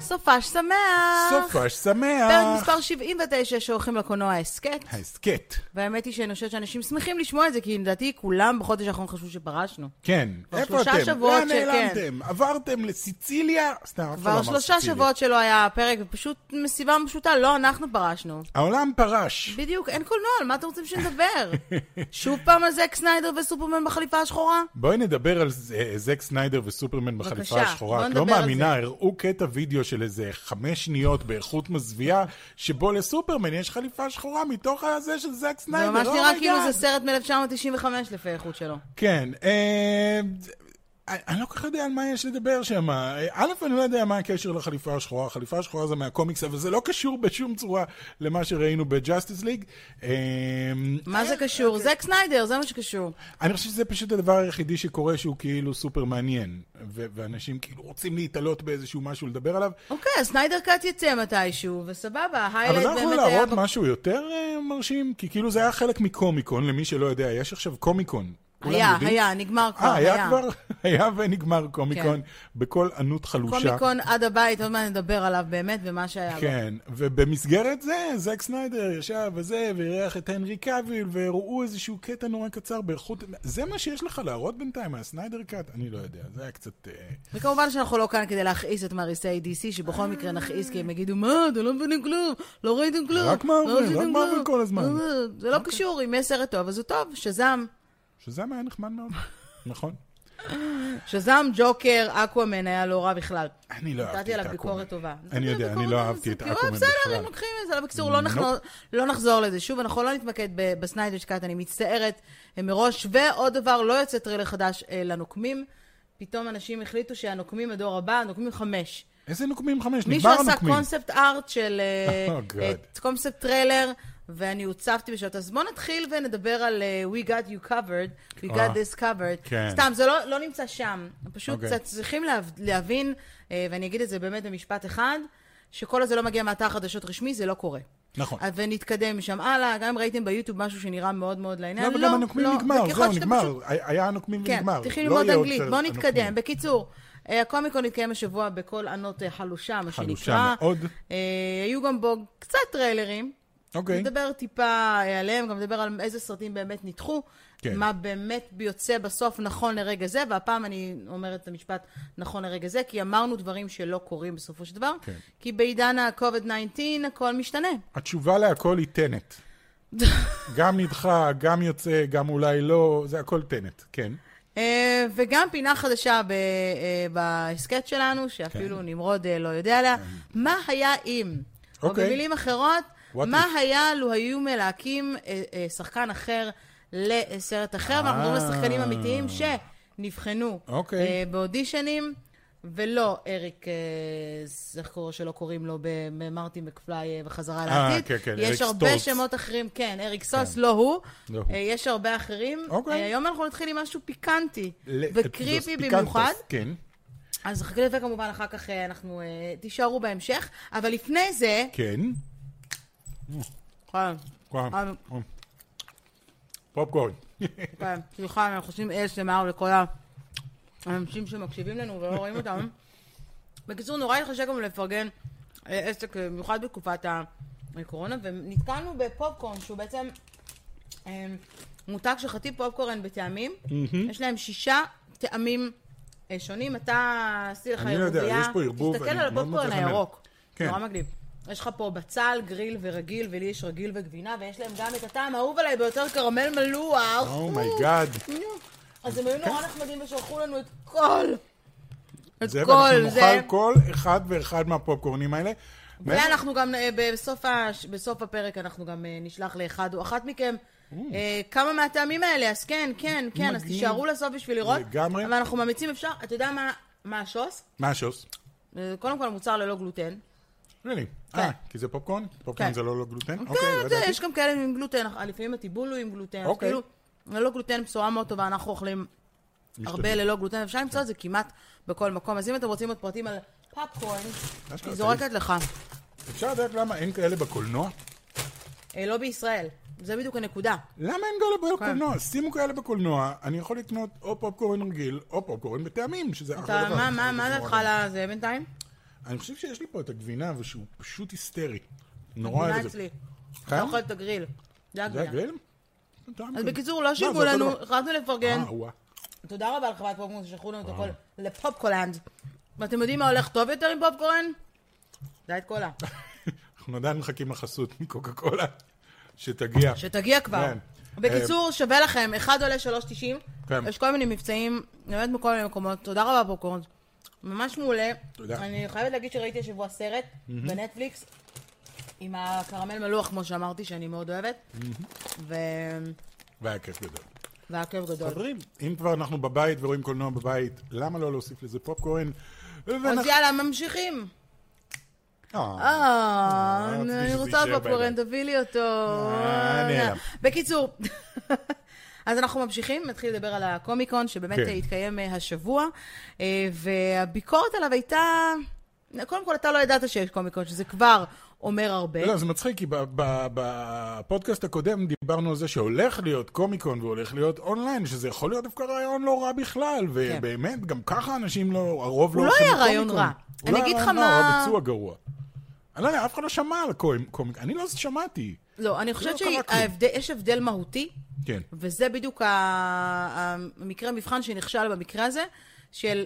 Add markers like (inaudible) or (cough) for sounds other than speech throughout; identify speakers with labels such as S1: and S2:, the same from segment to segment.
S1: סופש שמח!
S2: סופש שמח!
S1: פרק מספר 79 שהולכים לקולנוע ההסכת.
S2: ההסכת.
S1: והאמת היא שאני חושבת שאנשים שמחים לשמוע את זה, כי לדעתי כולם בחודש האחרון חשבו שפרשנו.
S2: כן,
S1: כבר
S2: איפה
S1: שלושה
S2: אתם?
S1: שבועות
S2: לאן
S1: שכן.
S2: נעלמתם? עברתם לסיציליה? סתם, אף אחד לא
S1: כבר
S2: אמר
S1: שלושה
S2: סיציליה.
S1: שבועות שלא היה פרק, ופשוט מסיבה פשוטה, לא, אנחנו פרשנו.
S2: העולם פרש.
S1: בדיוק, אין קולנוע, על מה אתם רוצים
S2: (laughs)
S1: שנדבר? שוב פעם על זק סניידר וסופרמן בחליפה השחורה?
S2: בואי נדבר על ז- אה, זק סניידר וסופרמן בחליפה
S1: בבקשה,
S2: השחורה.
S1: בוא
S2: את לא
S1: נדבר על
S2: מאמינה, הראו קטע וידאו של איזה חמש שניות באיכות מזוויעה, שבו לסופרמן יש חליפה שחורה מתוך הזה של זק
S1: זה
S2: סניידר. Oh
S1: ממש נראה
S2: אומייגאד.
S1: כאילו זה סרט מ-1995 לפי האיכות שלו.
S2: כן, אה, אני אני לא כל כך יודע על מה יש לדבר שם. אה, א', אני לא יודע מה הקשר לחליפה השחורה. החליפה השחורה זה מהקומיקס, אבל זה לא קשור בשום צורה למה שראינו בג'אסטיס ליג. אה,
S1: מה זה קשור?
S2: אוקיי.
S1: זק סניידר, זה מה שקשור.
S2: אני חושב שזה פשוט הדבר היחידי שקורה שהוא כאילו סופר מעניין. ו- ואנשים כאילו רוצים להתעלות באיזשהו משהו לדבר עליו.
S1: אוקיי, אז סניידר קאט יצא מתישהו, וסבבה,
S2: אבל
S1: ההיילייט
S2: אתה יכול
S1: באמת היה...
S2: להראות
S1: בק-
S2: משהו יותר אה, מרשים? כי כאילו זה היה חלק מקומיקון, למי שלא יודע, יש עכשיו קומיקון. כולם
S1: היה,
S2: יודעים?
S1: היה, נגמר כבר,
S2: אה, היה כבר? (laughs) היה ונגמר קומיקון בקול ענות חלושה.
S1: כן. קומיקון עד הבית, עוד מעט נדבר עליו באמת, ומה שהיה לו.
S2: כן, ובמסגרת זה, זק סניידר ישב וזה, ואירח את הנרי קאביל, והראו איזשהו קטע נורא קצר באיכות... זה מה שיש לך להראות בינתיים, הסניידר קאט? אני לא יודע, זה היה קצת... אה,
S1: וכמובן שאנחנו לא כאן כדי להכעיס את מעריסי DC, שבכל מקרה נכעיס, כי הם יגידו, מה, אתם לא מבינים כלום, לא ראיתם כלום.
S2: רק מארוול,
S1: לא עשיתם
S2: רק מארוול
S1: כלום."
S2: כל הזמן. אוקיי.
S1: אה, זה לא קשור, אם יש סרט טוב, אז הוא טוב, שזם.
S2: שזם היה נחמד
S1: (laughs)
S2: מאוד, נכון?
S1: שזם, ג'וקר, אקוואמן היה לא רע בכלל.
S2: אני לא אהבתי
S1: נתתי
S2: את
S1: עליו
S2: אקומן.
S1: ביקורת טובה. כאילו, "אה,
S2: אני יודע, אני לא אהבתי את אקומן
S1: בסדר,
S2: בכלל.
S1: הם לוקחים את זה, אבל בקיצור, לא נחזור- לא נחזור לזה. שוב, אנחנו לא נתמקד ב- בסניידר שקאט, אני מצטערת אה, מראש. ועוד דבר, לא יוצא טריילר חדש אה, לנוקמים. פתאום אנשים החליטו שהנוקמים הדור הבא, נוקמים חמש.
S2: איזה נוקמים חמש?
S1: מישהו
S2: נגמר
S1: עשה
S2: הנוקמים.
S1: קונספט ארט של אה,
S2: (laughs) Oh, God.
S1: קונספט טריילר, ואני הוצפתי בשעות. אז בואו נתחיל ונדבר על אה, We got you covered, We
S2: אה,
S1: got this covered.
S2: כן.
S1: סתם, זה לא- לא נמצא שם. פשוט
S2: אוקיי.
S1: קצת צריכים להב- להבין, אה, ואני אגיד את זה באמת במשפט אחד, שכל הזה לא מגיע מאתר חדשות רשמי, זה לא קורה.
S2: נכון.
S1: אז ונתקדם משם הלאה, גם אם ראיתם ביוטיוב משהו שנראה מאוד מאוד לעניין.
S2: לא, וגם הנוקמים נגמר,
S1: וככל
S2: זהו,
S1: שאתם פשוט
S2: נגמר. היה הנוקמים
S1: כן,
S2: ונגמר.
S1: תתחיל
S2: לא
S1: ללמוד
S2: יהיה עוד
S1: אנגלית.
S2: סרט
S1: בוא
S2: הנוקמים.
S1: נתקדם. בקיצור, אה, הקומיקון התקיים השבוע בקול ענות אה, חלושה, מה שנקרא.
S2: חלושה מאוד.
S1: אה, היו גם בו קצת טריילרים.
S2: אוקיי.
S1: נדבר טיפה אה, עליהם, גם נדבר על איזה סרטים באמת נדחו.
S2: כן.
S1: מה באמת יוצא בסוף נכון לרגע זה, והפעם אני אומרת את המשפט נכון לרגע זה, כי אמרנו דברים שלא קורים בסופו של דבר.
S2: כן.
S1: כי בעידן ה-COVID-19 הכל משתנה.
S2: התשובה להכל היא טנט. גם נדחה, גם יוצא, גם אולי לא, זה הכל טנט, כן.
S1: אה, וגם פינה חדשה ב- אה, בהסכת שלנו, שאפילו
S2: כן.
S1: נמרוד אה, לא יודע עליה, מה היה אם? או
S2: אוקיי.
S1: במילים אחרות,
S2: What
S1: מה
S2: if?
S1: היה לו היו מלהקים אה, אה, שחקן אחר לסרט אחר, ואנחנו מדברים על שחקנים אמיתיים שנבחנו
S2: אה. אוקיי.
S1: אה, באודישנים, ולא אריק, אה, ז- איך קוראים שלא קוראים לו במרטין מקפליי אה, בחזרה לעתיד.
S2: כן, כן, אריק
S1: יש הרבה
S2: סטולץ.
S1: שמות אחרים, כן, אריק סוס, לא הוא.
S2: לא
S1: אה,
S2: הוא.
S1: יש הרבה אחרים.
S2: אוקיי.
S1: אה, היום אנחנו נתחיל עם משהו פיקנטי
S2: ל-
S1: וקריפי
S2: פיקנטוס,
S1: במיוחד.
S2: כן.
S1: אז חכי לזה כמובן, אחר כך אה, אנחנו אה, תישארו בהמשך. אבל לפני זה...
S2: כן.
S1: כן,
S2: וואו.
S1: אה,
S2: פופקורן.
S1: כן, סליחה, אנחנו עושים ASMR לכל ה- האנשים שמקשיבים לנו ולא רואים אותם. בקיצור, נורא התחשק לנו לפרגן אה, עסק, אה, במיוחד בתקופת הקורונה, ונתקלנו בפופקורן, שהוא בעצם אה, מותג שחטיא פופקורן בטעמים. יש להם שישה טעמים אה, שונים. אתה, עשי לך
S2: אני לא יודע,
S1: ערבוביה.
S2: יש פה ערבוב,
S1: תסתכל
S2: אני
S1: על
S2: מאוד
S1: הפופקורן
S2: מצליח
S1: הירוק.
S2: כן.
S1: נורא מגניב. יש לך פה בצל, גריל ורגיל, ולי יש רגיל וגבינה, ויש להם גם את הטעם האהוב עליי ביותר, קרמל מלוח.
S2: Oh אומייגאד.
S1: נו. אז הם היו נורא נחמדים ושלחו לנו את כל... את
S2: זה,
S1: כל
S2: ואנחנו
S1: זה.
S2: נאכל כל אחד ואחד מהפופקורנים האלה.
S1: ואנחנו גם, אה, בסוף הש- בסוף הפרק אנחנו גם אה, נשלח לאחד או אחת מכם אה, כמה מהטעמים האלה, אז כן, כן, כן, אז
S2: Mm. מגניב.
S1: תישארו לסוף בשביל לראות.
S2: לגמרי.
S1: אבל אנחנו ממליצים, אפשר, אתה יודע מה- מה השוס?
S2: מה השוס?
S1: אה, קודם כל המוצר ללא גלוטן.
S2: really?
S1: כן.
S2: אה, כי זה פופקורן? פופקורן
S1: כן.
S2: זה לא לא גלוטן?
S1: כן,
S2: אוקיי, לא
S1: אתה יודע,
S2: ידעתי.
S1: יש גם כאלה עם גלוטן, אך- לפעמים הטיבול הוא עם גלוטן, אז
S2: אוקיי.
S1: כאילו, ללא גלוטן בשורה מאוד טובה, אנחנו אוכלים הרבה
S2: משתדלים.
S1: ללא גלוטן, אפשר למצוא את זה כמעט בכל מקום. אז אם אתם רוצים עוד פרטים על פופקורן,
S2: אשכרה,
S1: היא זורקת לך.
S2: אפשר לדעת למה אין כאלה בקולנוע?
S1: אה, לא בישראל, זה בדיוק הנקודה.
S2: למה אין כאלה
S1: כן.
S2: בקולנוע? שימו כאלה בקולנוע, אני יכול לקנות או פופקורן רגיל, או פופקורן בטעמים, שזה אחלה
S1: אתה,
S2: דבר.
S1: מה, מה, מה דעתך על זה בינתיים?
S2: אני חושב שיש לי פה את הגבינה, ושהוא פשוט היסטרי. נורא
S1: גבינה
S2: אוהב את זה.
S1: אצלי.
S2: חם?
S1: אוכל את הגריל. זה
S2: זה
S1: הגבינה.
S2: הגריל? טעם
S1: אז
S2: כזה.
S1: בקיצור, לא
S2: זה
S1: שילמו
S2: אותו
S1: לנו, כן.
S2: דבר.
S1: החלטנו לפרגן.
S2: אה, וואה.
S1: תודה רבה לחברת פופקורן ששלחו לנו את הכל לפופקולנד. ואתם יודעים מה הולך טוב יותר עם פופקורן? דיאט קולה.
S2: אנחנו עדיין מחכים לחסות מקוקה קולה, שתגיע.
S1: שתגיע כבר.
S2: כן.
S1: בקיצור, שווה לכם, אחד עולה 3.90,
S2: כן.
S1: יש כל מיני מבצעים, באמת מכל מיני מקומות, תודה רבה פופקורן. ממש מעולה.
S2: תודה.
S1: אני חייבת להגיד שראיתי השבוע סרט בנטפליקס, עם הקרמל מלוח, כמו שאמרתי, שאני מאוד אוהבת, ו...
S2: והיה כיף גדול.
S1: והיה כיף גדול.
S2: חברים, אם כבר אנחנו בבית ורואים קולנוע בבית, למה לא להוסיף לזה פופקורן?
S1: אז
S2: ואנחנו...
S1: יאללה, ממשיכים.
S2: אה,
S1: אה,
S2: רציתי
S1: אני
S2: שזה
S1: רוצה
S2: יישאר
S1: עוד פופקורן,
S2: בידיים.
S1: תביא לי אותו.
S2: אה, נעלם.
S1: בקיצור, (laughs) אז אנחנו ממשיכים, נתחיל לדבר על הקומיקון, שבאמת
S2: כן.
S1: אה, התקיים אה, השבוע, אה, והביקורת עליו הייתה... קודם כל, אתה לא ידעת שיש קומיקון, שזה כבר אומר הרבה.
S2: לא, זה מצחיק, כי ב- ב- בפודקאסט הקודם דיברנו על זה שהולך להיות קומיקון והולך להיות אונליין, שזה יכול להיות דווקא רעיון לא רע בכלל, ובאמת, גם ככה אנשים לא, הרוב לא
S1: כן. לא
S2: הולכים
S1: היה
S2: לקומיקון.
S1: רעיון רע.
S2: הוא
S1: אני
S2: לא היה
S1: אגיד לך
S2: רעיון רע,
S1: מה-
S2: הביצוע גרוע. אני לא יודע, אף אחד לא שמע על קומיקון, אני לא שמעתי.
S1: לא, אני חושבת
S2: קרה כלום.
S1: שיש הבדל מהותי,
S2: כן.
S1: וזה בדיוק ה- המקרה מבחן שנכשל במקרה הזה, של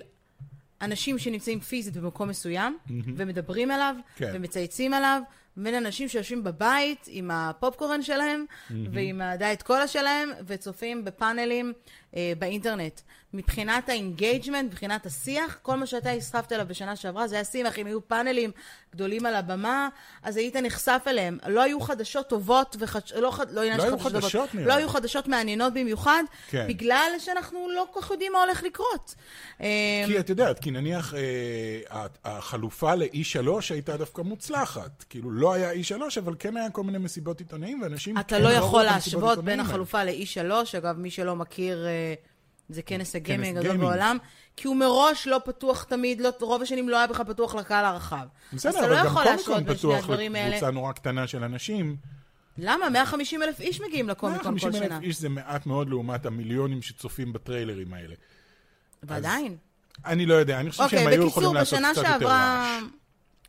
S1: אנשים שנמצאים פיזית במקום מסוים, ומדברים עליו,
S2: כן.
S1: ומצייצים עליו, בין אנשים שיושבים בבית עם הפופקורן שלהם, ועם הדיאט קולה שלהם, וצופים בפאנלים אה, באינטרנט. מבחינת האינגייג'מנט, מבחינת השיח, כל מה שאתה הסחפת אליו בשנה שעברה זה היה שיח, אם היו פאנלים גדולים על הבמה, אז היית נחשף אליהם. לא היו חדשות טובות, וחדש... לא, חד... לא, עניין
S2: לא
S1: של
S2: היו
S1: טובות.
S2: חדשות, נראה
S1: לא
S2: לי.
S1: היו חדשות מעניינות במיוחד,
S2: כן.
S1: בגלל שאנחנו לא כל כך יודעים מה הולך לקרות. אה,
S2: כי את יודעת, כי נניח אה, ה- החלופה ל-E3 הייתה דווקא מוצלחת. כאילו, לא היה E3, אבל כן היה כל מיני מסיבות עיתונאים, ואנשים...
S1: אתה
S2: כן
S1: לא
S2: ראו
S1: יכול
S2: את המסיבות
S1: להשוות בין
S2: עיתונאים האלה.
S1: החלופה ל-E3, אגב, מי שלא מכיר, אה, זה כנס הגיימינג הגדול
S2: גיימינג.
S1: בעולם, כי הוא מראש לא פתוח תמיד, לא- רוב השנים לא היה בכלל פתוח לקהל הרחב. אז אתה
S2: בסדר,
S1: לא
S2: אבל גם
S1: יכול להשוות
S2: קומיקון
S1: בין שני
S2: פתוח
S1: הדברים האלה.
S2: לקבוצה נורא קטנה של אנשים.
S1: למה? 150 אלף איש מגיעים לקומיקון כל
S2: 150 אלף
S1: שנה.
S2: איש זה מעט מאוד לעומת המיליונים שצופים בטריילרים האלה.
S1: ועדיין.
S2: אני לא יודע, אני חושב שהם
S1: אוקיי,
S2: היו יכולים
S1: בקיצור,
S2: לעשות
S1: בשנה
S2: קצת יותר
S1: שעברה...
S2: רעש.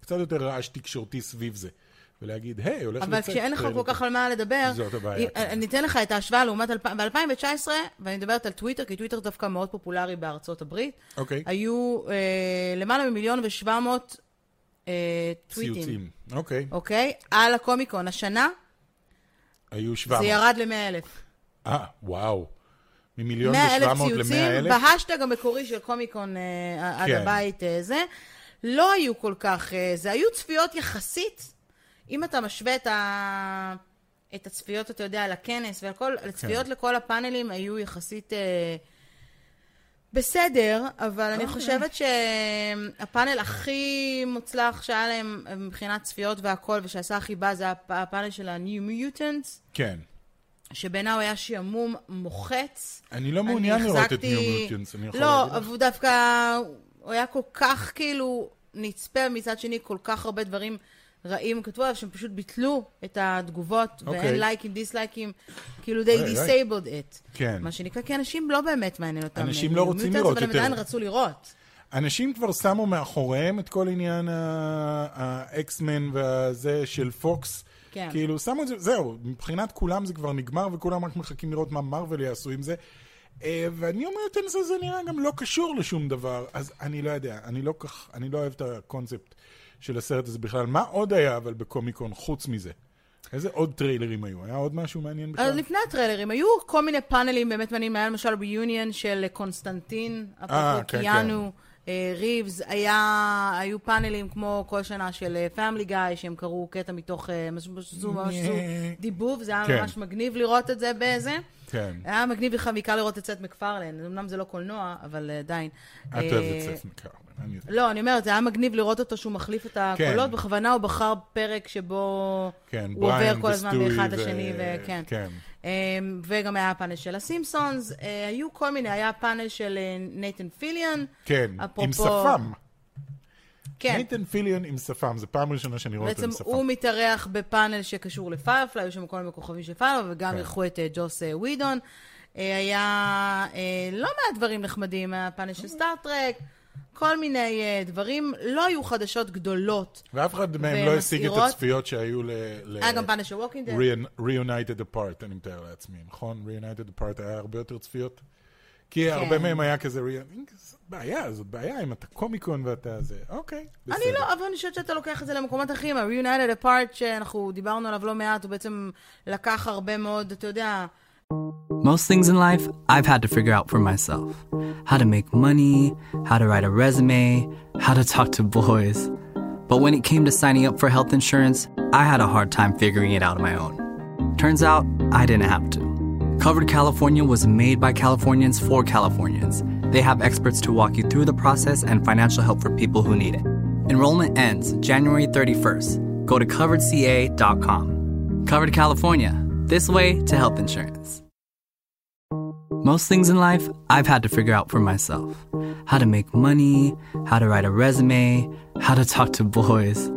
S2: קצת יותר רעש תקשורתי סביב זה. ולהגיד, היי, הולך
S1: אבל
S2: לצאת
S1: כשאין לך כל
S2: טריילר
S1: כך על מה לדבר,
S2: זאת הבעיה,
S1: אם- אני אתן לך את ההשוואה לעומת, ב-2019, ואני מדברת על טוויטר, כי טוויטר דווקא מאוד פופולרי בארצות הברית,
S2: אוקיי.
S1: היו אה, למעלה ממיליון ושבע מאות אה, טוויטים,
S2: ציוצים. אוקיי,
S1: אוקיי? על הקומיקון. השנה
S2: היו
S1: זה
S2: 700.
S1: ירד ל-100 אלף.
S2: אה, וואו. ממיליון
S1: 100 אלף
S2: ושבע מאות למאה
S1: ציוצים,
S2: אלף?
S1: בהשטג המקורי של קומיקון אה, עד
S2: כן.
S1: הבית אה, זה, לא היו כל כך, אה, זה היו צפיות יחסית, אם אתה משווה את, ה... את הצפיות, אתה יודע, לכנס והכל, הצפיות
S2: כן.
S1: לכל הפאנלים היו יחסית... אה, בסדר, אבל
S2: אוקיי.
S1: אני חושבת שהפאנל הכי מוצלח שהיה להם אה, מבחינת צפיות והכל, ושעשה הכי בא, זה הפ- הפאנל של ה-New Mutants,
S2: כן.
S1: שבעיניי הוא היה שעמום מוחץ.
S2: אני לא
S1: אני
S2: מעוניין לראות את
S1: החזקתי-
S2: ניו מוטיונס, אני יכול
S1: לא,
S2: להגיד לך.
S1: אבל הוא דווקא, הוא היה כל כך כאילו נצפה, מצד שני כל כך הרבה דברים רעים כתבו עליו, שהם פשוט ביטלו את התגובות, ואין
S2: אוקיי.
S1: לייקים, דיסלייקים, כאילו they
S2: אוי, אוי.
S1: disabled it.
S2: כן.
S1: מה שנקרא, כי אנשים לא באמת מעניין אותם.
S2: אנשים
S1: אה,
S2: לא רוצים
S1: מיוטנס,
S2: לראות
S1: אבל הם
S2: יותר.
S1: עדיין רצו לראות.
S2: אנשים כבר שמו מאחוריהם את כל עניין ה- האקסמן והזה של פוקס.
S1: כן.
S2: כאילו, שמו את זה, זהו, מבחינת כולם זה כבר נגמר, וכולם רק מחכים לראות מה מרוויל יעשו עם זה. אה, ואני אומר, טנס הזה נראה גם לא קשור לשום דבר, אז אני לא יודע, אני לא כך, אני לא אוהב את הקונספט של הסרט הזה בכלל. מה עוד היה אבל בקומיקון חוץ מזה? איזה עוד טריילרים היו? היה עוד משהו מעניין
S1: אז
S2: בכלל?
S1: לפני הטריילרים, היו כל מיני פאנלים באמת מעניינים, היה למשל ביוניון של קונסטנטין,
S2: אה, כן,
S1: קיאנו, אה, ריבס, היה, היו פאנלים כמו כל שנה של פאמילי גיא, שהם קראו קטע מתוך אה, משהו, משהו, משהו,
S2: אה.
S1: דיבוב, זה היה
S2: כן.
S1: ממש מגניב לראות את זה באיזה.
S2: כן.
S1: היה מגניב בעיקר לראות את סט מקפרלן, אמנם זה לא קולנוע, אבל אה, עדיין.
S2: את אוהבת
S1: אה,
S2: סף מקרמן, אני יודע.
S1: לא, אני אומרת, זה היה מגניב לראות אותו שהוא מחליף את הקולות,
S2: כן.
S1: בכוונה הוא בחר פרק שבו
S2: כן,
S1: הוא עובר
S2: בריאן
S1: כל הזמן
S2: וסטוי
S1: באחד
S2: ו-
S1: לשני, וכן.
S2: כן.
S1: אמ, וגם היה הפאנל של הסימפסונס, אה, היו כל מיני, היה פאנל של אה, נייתן פיליאן.
S2: כן, עם
S1: אפרופו-
S2: שפם.
S1: כן,
S2: נייתן פיליון עם שפם, זו פעם ראשונה שאני רואה אותו
S1: בעצם
S2: עם שפם.
S1: הוא מתארח בפאנל שקשור לפיירפליי, היו שם כל מיני כוכבים של פיירפליי, וגם
S2: כן.
S1: אירחו את אה, ג'וס אה, ווידון. אה, היה אה, לא מעט דברים נחמדים, היה פאנל של סטארט-טרק, כל מיני אה, דברים. לא היו חדשות גדולות.
S2: ואף אחד מהם לא השיג את
S1: ומסעירות.
S2: הצפיות שהיו ל... ל-
S1: היה אה, גם פאנל של ווקינג דד.
S2: Reun- Reunited Apart, אני מתאר לעצמי, נכון? Reunited Apart היה הרבה יותר צפיות?
S1: כן.
S2: כי הרבה מהם היה כזה, re- זאת בעיה, זאת בעיה, אם אתה קומיקון ואתה זה, אוקיי, בסדר.
S1: אני לא, אבל אני חושבת שאתה לוקח את זה למקומות אחרים. ה-Reunited Apart שאנחנו דיברנו עליו לא מעט, הוא בעצם לקח הרבה מאוד, אתה יודע,
S3: Most things in life, I've had to figure out for myself how to make money, how to write a resume, how to talk to boys. But when it came to signing up for health insurance, I had a hard time figuring it out on my own. Turns out, I didn't have to. Covered California was made by Californians for Californians. They have experts to walk you through the process and financial help for people who need it. Enrollment ends January 31st. Go to coveredca.com. Covered California, this way to health insurance. Most things in life, I've had to figure out for myself how to make money, how to write a resume, how to talk to boys.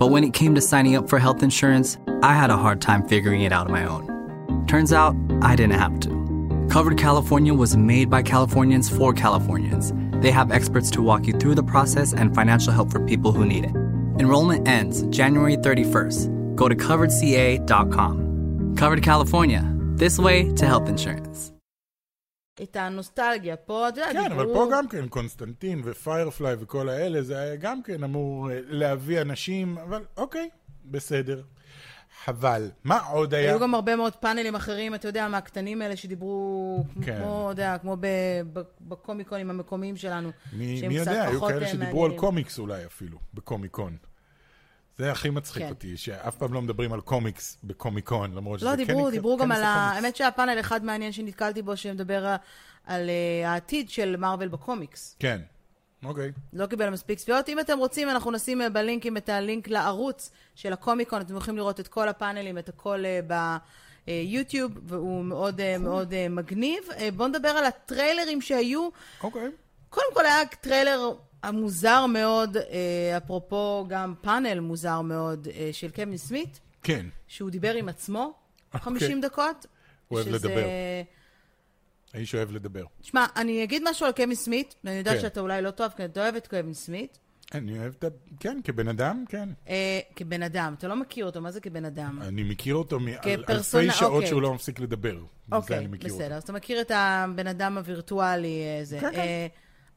S3: But when it came to signing up for health insurance, I had a hard time figuring it out on my own. Turns out, I didn't have to. Covered California was made by Californians for Californians. They have experts to walk you through the process and financial help for people who need it. Enrollment ends January 31st. Go to coveredca.com. Covered California, this way to health insurance.
S1: את הנוסטלגיה. פה, אתה יודע,
S2: כן, אבל
S1: דיברו-
S2: פה גם כן קונסטנטין ופיירפליי וכל האלה, זה היה גם כן אמור אה, להביא אנשים, אבל אוקיי, בסדר. חבל. מה עוד היה?
S1: היו גם הרבה מאוד פאנלים אחרים, אתה יודע, מהקטנים האלה שדיברו,
S2: כן.
S1: כמו, אתה יודע, כמו ב- ב- בקומיקונים המקומיים שלנו.
S2: מי,
S1: שהם
S2: מי
S1: קצת
S2: יודע, היו
S1: פחות,
S2: כאלה
S1: אה,
S2: שדיברו על
S1: מעניינים.
S2: קומיקס אולי אפילו, בקומיקון. זה הכי מצחיק
S1: כן.
S2: אותי, שאף פעם לא מדברים על קומיקס בקומיקון, למרות שזה
S1: לא,
S2: כן...
S1: דיברו,
S2: נקרא-
S1: דיברו
S2: כן
S1: גם על
S2: עושה
S1: ה...
S2: קומיקס.
S1: האמת שהיה פאנל אחד מעניין שנתקלתי בו, שמדבר אה, על אה, העתיד של מארוול בקומיקס.
S2: כן, אוקיי.
S1: לא קיבל מספיק צפיות. אם אתם רוצים, אנחנו נשים אה, בלינקים את הלינק לערוץ של הקומיקון, אתם יכולים לראות את כל הפאנלים, את הכל אה, ביוטיוב, והוא מאוד
S2: נכון.
S1: אה, מאוד אה, מגניב. אה, בואו נדבר על הטריילרים שהיו.
S2: אוקיי.
S1: קודם כל היה טריילר המוזר מאוד, אה, אפרופו גם פאנל מוזר מאוד אה, של קווין סמית,
S2: כן.
S1: שהוא דיבר עם עצמו
S2: אוקיי.
S1: 50 דקות.
S2: הוא אוהב
S1: שזה-
S2: לדבר. האיש אוהב לדבר.
S1: שמע, אני אגיד משהו על קווין סמית, ואני יודעת
S2: כן.
S1: שאתה אולי לא תאהב, כי אתה אוהב את קווין סמית.
S2: אני אוהב את ה... כן, כבן אדם, כן.
S1: אה, כבן אדם, אתה לא מכיר אותו, מה זה כבן אדם?
S2: אני מכיר אותו מאלפי
S1: כפרסונה,
S2: שעות
S1: אוקיי.
S2: שהוא לא מפסיק לדבר. זה אני
S1: אוקיי,
S2: מכיר
S1: בסדר. אז אתה מכיר את הבן אדם הווירטואלי אה, זה.
S2: כן, כן.
S1: אה,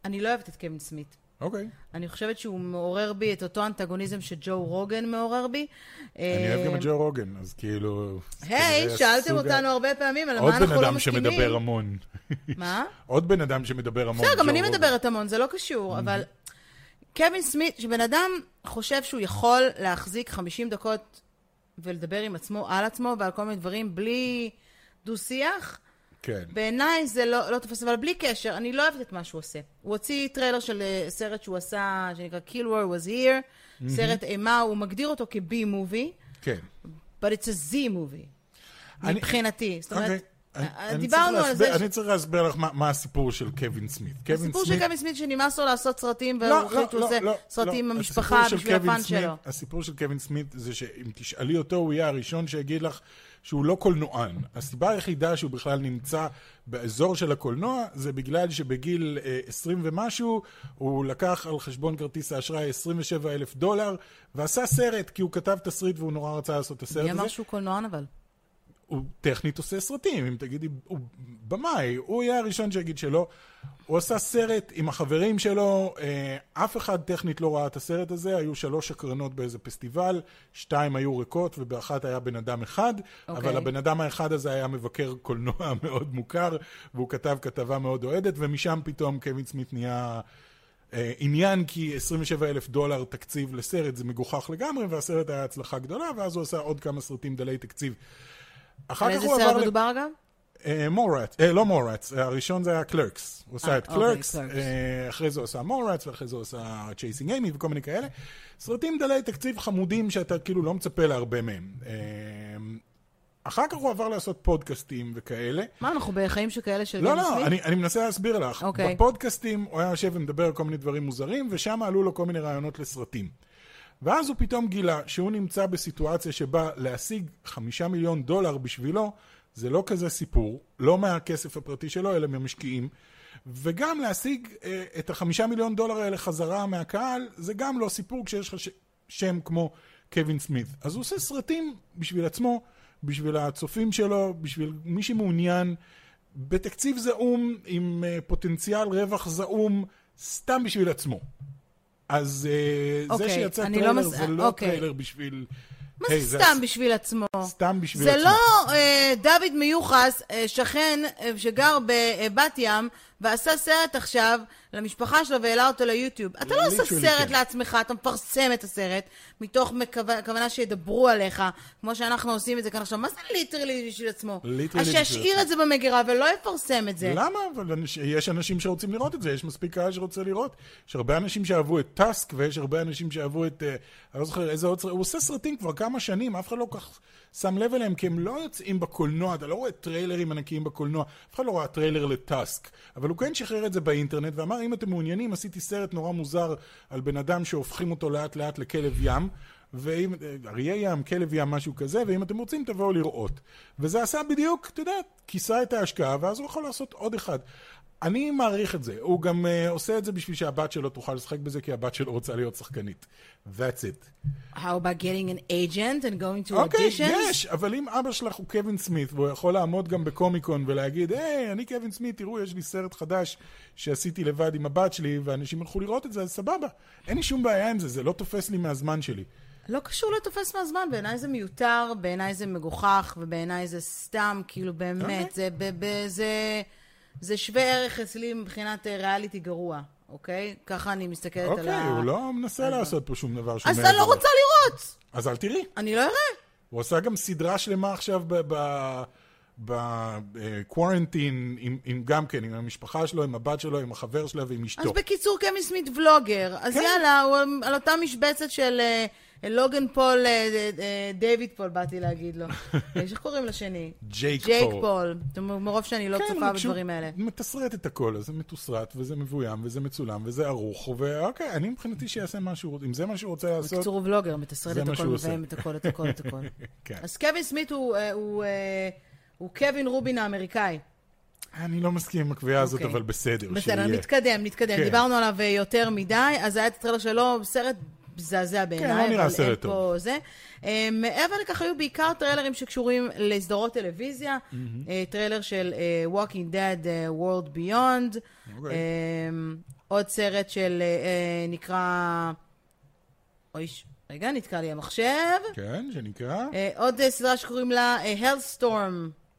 S1: אני לא אוהבת את קווין סמית.
S2: אותו. אוקיי.
S1: אני חושבת שהוא מעורר בי את אותו אנטגוניזם שג'ו רוגן מעורר בי.
S2: אני אוהב גם את ג'ו רוגן, אז כאילו... זה
S1: אה, היי,
S2: כנראה
S1: שאלתם
S2: הסוג ה-
S1: אותנו הרבה פעמים על
S2: עוד
S1: מה
S2: בן
S1: אנחנו לא
S2: אדם
S1: מסכימים.
S2: שמדבר המון. (laughs)
S1: מה?
S2: עוד בן אדם שמדבר המון.
S1: בסדר, גם
S2: ג'ו
S1: אני
S2: רוגן. Mm-hmm.
S1: מדברת המון, זה לא קשור, אבל... קווין סמית, שבן אדם חושב שהוא יכול להחזיק 50 דקות ולדבר עם עצמו על עצמו ועל כל מיני דברים בלי דו-שיח,
S2: כן.
S1: בעיניי זה לא, לא תופס, אבל בלי קשר, אני לא אוהבת את מה שהוא עושה. הוא הוציא טריילר של אה, סרט שהוא עשה, שנקרא Kill War was here, סרט אימה, הוא מגדיר אותו כ-B movie,
S2: כן.
S1: but it's a Z movie,
S2: אני-
S1: מבחינתי. זאת
S2: אוקיי.
S1: אומרת,
S2: אני-
S1: אה,
S2: אני
S1: דיברנו
S2: צריך
S1: על זה
S2: להסביר-
S1: ש-
S2: אני צריך להסביר לך מה- מה הסיפור של קווין סמית. קווין
S1: הסיפור של
S2: סמית-
S1: קווין סמית שנמאס לו לעשות סרטים,
S2: לא,
S1: והוא החליט שהוא
S2: לא,
S1: עושה
S2: לא, לא.
S1: סרטים עם
S2: הסיפור
S1: המשפחה
S2: של
S1: בשביל
S2: קווין
S1: הפאן
S2: סמית-
S1: שלו.
S2: הסיפור של קווין סמית זה שאם תשאלי אותו, הוא יהיה הראשון שיגיד לך שהוא לא קולנוען. הסיבה היחידה שהוא בכלל נמצא באזור של הקולנוע, זה בגלל שבגיל אה, 20 ומשהו, הוא לקח על חשבון כרטיס האשראי 27 אלף דולר, ועשה סרט, כי הוא כתב תסריט והוא נורא רצה לעשות את הסרט
S1: מי
S2: הזה.
S1: אמר שהוא קולנוען אבל?
S2: הוא טכנית עושה סרטים, אם תגידי, הוא במאי, הוא יהיה הראשון שיגיד שלא. הוא עשה סרט עם החברים שלו, אה, אף אחד טכנית לא ראה את הסרט הזה, היו שלוש הקרנות באיזה פסטיבל, שתיים היו ריקות ובאחת היה בן אדם אחד, okay. אבל הבן אדם האחד הזה היה מבקר קולנוע (laughs) מאוד מוכר, והוא כתב כתבה מאוד אוהדת, ומשם פתאום קווין סמית נהיה... אה, עניין כי 27 אלף דולר תקציב לסרט זה מגוחך לגמרי והסרט היה הצלחה גדולה ואז הוא עשה עוד כמה סרטים דלי תקציב.
S1: על
S2: אחר כך
S1: איזה
S2: הוא
S1: סרט
S2: עבר
S1: מדובר אגב?
S2: למורץ, לא מורץ, הראשון זה היה קלרקס. הוא עשה
S1: אה,
S2: את
S1: אוקיי,
S2: קלרקס,
S1: Clerks.
S2: אחרי זה הוא עשה מורץ ואחרי זה הוא עשה צ'ייסינג אימי וכל מיני כאלה. סרטים דלי תקציב חמודים שאתה כאילו לא מצפה להרבה מהם. אה, אחר כך הוא עבר לעשות פודקאסטים וכאלה.
S1: מה, אנחנו בחיים שכאלה של
S2: לא,
S1: קווין
S2: לא,
S1: סמית?
S2: אני, אני מנסה להסביר לך.
S1: אוקיי.
S2: בפודקאסטים הוא היה יושב ומדבר על כל מיני דברים מוזרים, ושם עלו לו כל מיני רעיונות לסרטים. ואז הוא פתאום גילה שהוא נמצא בסיטואציה שבה להשיג חמישה מיליון דולר בשבילו, זה לא כזה סיפור, לא מהכסף הפרטי שלו, אלא מהמשקיעים. וגם להשיג אה, את החמישה מיליון דולר האלה חזרה מהקהל, זה גם לא סיפור כשיש לך ש... שם כמו קווין סמית. אז הוא עושה סרטים בשביל עצמו, בשביל הצופים שלו, בשביל מי שמעוניין, בתקציב זעום, עם אה, פוטנציאל רווח זעום, סתם בשביל עצמו. אז אה, זה
S1: אוקיי,
S2: שיצא
S1: אני לא
S2: טריילר
S1: מס-
S2: זה לא
S1: אוקיי.
S2: טריילר בשביל...
S1: מה זה סתם בשביל עצמו?
S2: סתם בשביל
S1: זה
S2: עצמו.
S1: לא אה, דוד מיוחס, אה, שכן אה, שגר בבת ים, ועשה סרט עכשיו למשפחה שלו והעלה אותו ליוטיוב. אתה לא עושה
S2: literally
S1: סרט
S2: כן.
S1: לעצמך, אתה מפרסם את הסרט, מתוך מקו- כוונה שידברו עליך, כמו שאנחנו עושים את זה כאן עכשיו. מה זה ליטרלי בשביל עצמו?
S2: Literally
S1: אז
S2: בשביל לא.
S1: שישאיר את זה במגירה ולא יפרסם את זה.
S2: למה? אבל אנש- יש אנשים שרוצים לראות את זה, יש מספיק קהל שרוצה לראות. יש הרבה אנשים שאהבו את טאסק, ויש הרבה אנשים שאהבו את... אה, אני לא זוכר איזה עוד סרט, הוא עושה סרטים כבר כמה שנים, אף אחד לא כל כך שם לב אליהם, כי הם לא יוצאים בקולנוע, אתה לא רואה טריילרים ענקיים בקולנוע, אף אחד לא ראה טריילר לטאסק. אבל הוא כן שחרר את זה באינטרנט, ואמר, אם אתם מעוניינים, עשיתי סרט נורא מוזר על בן אדם שהופכים אותו לאט לאט לכלב ים. ואם, אה, אריה ים, כלב ים, משהו כזה, ואם אתם רוצים תבואו לראות. וזה עשה בדיוק, אתה יודע, כיסה את ההשקעה, ואז הוא יכול לעשות עוד אחד. אני מעריך את זה, הוא גם uh, עושה את זה בשביל שהבת שלו תוכל לשחק בזה, כי הבת שלו רוצה להיות שחקנית. That's it.
S1: How about getting an agent and going to
S2: אוקיי,
S1: auditions?
S2: יש, אבל אם אבא שלך הוא קווין סמית, והוא יכול לעמוד גם בקומיקון ולהגיד, היי, אני קווין סמית, תראו, יש לי סרט חדש שעשיתי לבד עם הבת שלי, ואנשים הלכו לראות את זה, אז סבבה. אין לי שום בעיה עם זה, זה לא תופס לי מהזמן שלי.
S1: לא קשור לתופס מהזמן, בעיניי זה מיותר, בעיניי זה מגוחך, ובעיניי זה סתם, כאילו
S2: אוקיי.
S1: באמת, זה, ב, ב, זה, זה שווה ערך אצלי מבחינת אה, ריאליטי גרוע, אוקיי? ככה אני מסתכלת על ה...
S2: אוקיי, הוא לא מנסה לעשות פה שום דבר שהוא
S1: אז אתה
S2: מעבר
S1: לא
S2: לו.
S1: רוצה לראות!
S2: אז אל תראי.
S1: אני לא אראה.
S2: הוא עשה גם סדרה שלמה עכשיו בקוורנטין, אה, עם, עם גם כן, עם המשפחה שלו, עם הבת שלו, עם החבר שלה ועם
S1: אז
S2: אשתו.
S1: בקיצור, קמי סמית ולוגר. אז
S2: כן.
S1: יאללה, הוא אה, על אותה משבצת של אה, אה, לוגן פול, אה, אה, אה, דיוויד פול, באתי להגיד
S2: (laughs)
S1: לו. יש, איך קוראים לשני?
S2: ג'ייק
S1: ג'ייק
S2: פול.
S1: פול. אתם- מרוב שאני לא
S2: כן,
S1: צופה
S2: אבל כשהוא
S1: בדברים האלה.
S2: מתסרט את הכל, אז זה מתוסרט, וזה מבוים, וזה מצולם, וזה ערוך, ואוקיי, אני מבחינתי שיעשה מה שהוא רוצה, אם זה מה שהוא רוצה לעשות,
S1: בקיצור, הוא ולוגר, מתסרט
S2: זה
S1: את
S2: מה
S1: הכל,
S2: שהוא עושה.
S1: מביים את הכל, את הכל, את הכל.
S2: (laughs) כן.
S1: אז קווין סמית הוא, אה, הוא, אה, הוא קווין רובין האמריקאי.
S2: אני לא מסכים עם הקביעה הזאת,
S1: אוקיי.
S2: אבל בסדר,
S1: בסדר,
S2: שיהיה.
S1: נתקדם, נתקדם.
S2: כן.
S1: דיברנו עליו אה, יותר מדי, אז היה את הטרלר שלו, סרט מזעזע בעיניי.
S2: לא נראה
S1: אבל
S2: סרט
S1: אין
S2: טוב.
S1: פה זה. אה, מעבר לכך, היו בעיקר טריילרים שקשורים לסדרות טלוויזיה. אה, טריילר של אה, Walking Dead, אה, World Beyond.
S2: אוקיי.
S1: אה, עוד סרט של אה, אה, נקרא... אוי, ש- רגע, נתקע לי המחשב.
S2: כן, שנקרא.
S1: אה, עוד אה, סדרה שקוראים לה אה, Hellstorm,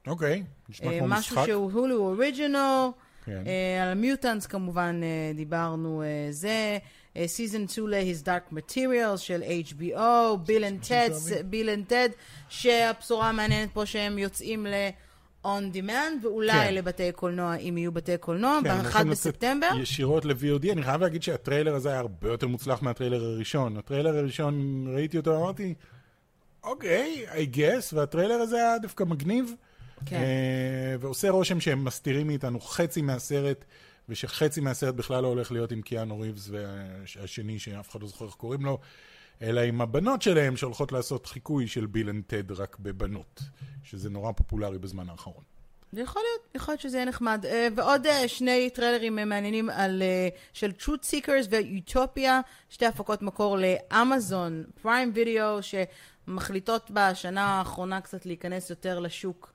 S2: אוקיי,
S1: אה,
S2: נשמע כמו
S1: משהו
S2: משחק.
S1: שהוא הולו אוריג'ינל,
S2: כן.
S1: על מיוטנס כמובן אה, דיברנו אה, זה, אה, Season 2 ל-His Dark Materials של HBO, ביל אנד טד,
S2: שאוהבים.
S1: ביל אנד טד, שהבשורה המעניינת פה שהם יוצאים ל... On demand, ואולי
S2: כן.
S1: לבתי קולנוע, אם יהיו בתי קולנוע,
S2: כן,
S1: ב-1
S2: הולכים לצאת
S1: בספטמבר.
S2: ישירות ל-VOD. אני חייב להגיד שהטריילר הזה היה הרבה יותר מוצלח מהטריילר הראשון. הטריילר הראשון, ראיתי אותו, אמרתי, אוקיי, I guess, והטריילר הזה היה דווקא מגניב.
S1: כן.
S2: אה, ועושה רושם שהם מסתירים מאיתנו חצי מהסרט, ושחצי מהסרט בכלל לא הולך להיות עם קיאנו ריבס והשני, שאף אחד לא זוכר איך קוראים לו, אלא עם הבנות שלהם שהולכות לעשות חיקוי של ביל אנד טד רק בבנות, שזה נורא פופולרי בזמן האחרון.
S1: זה יכול להיות, יכול להיות שזה יהיה נחמד. אה, ועוד אה, שני טריילרים אה, מעניינים על, אה, של Truth Seekers ויוטופיה, שתי הפקות מקור לאמזון פריים וידאו, שמחליטות בשנה האחרונה קצת להיכנס יותר לשוק.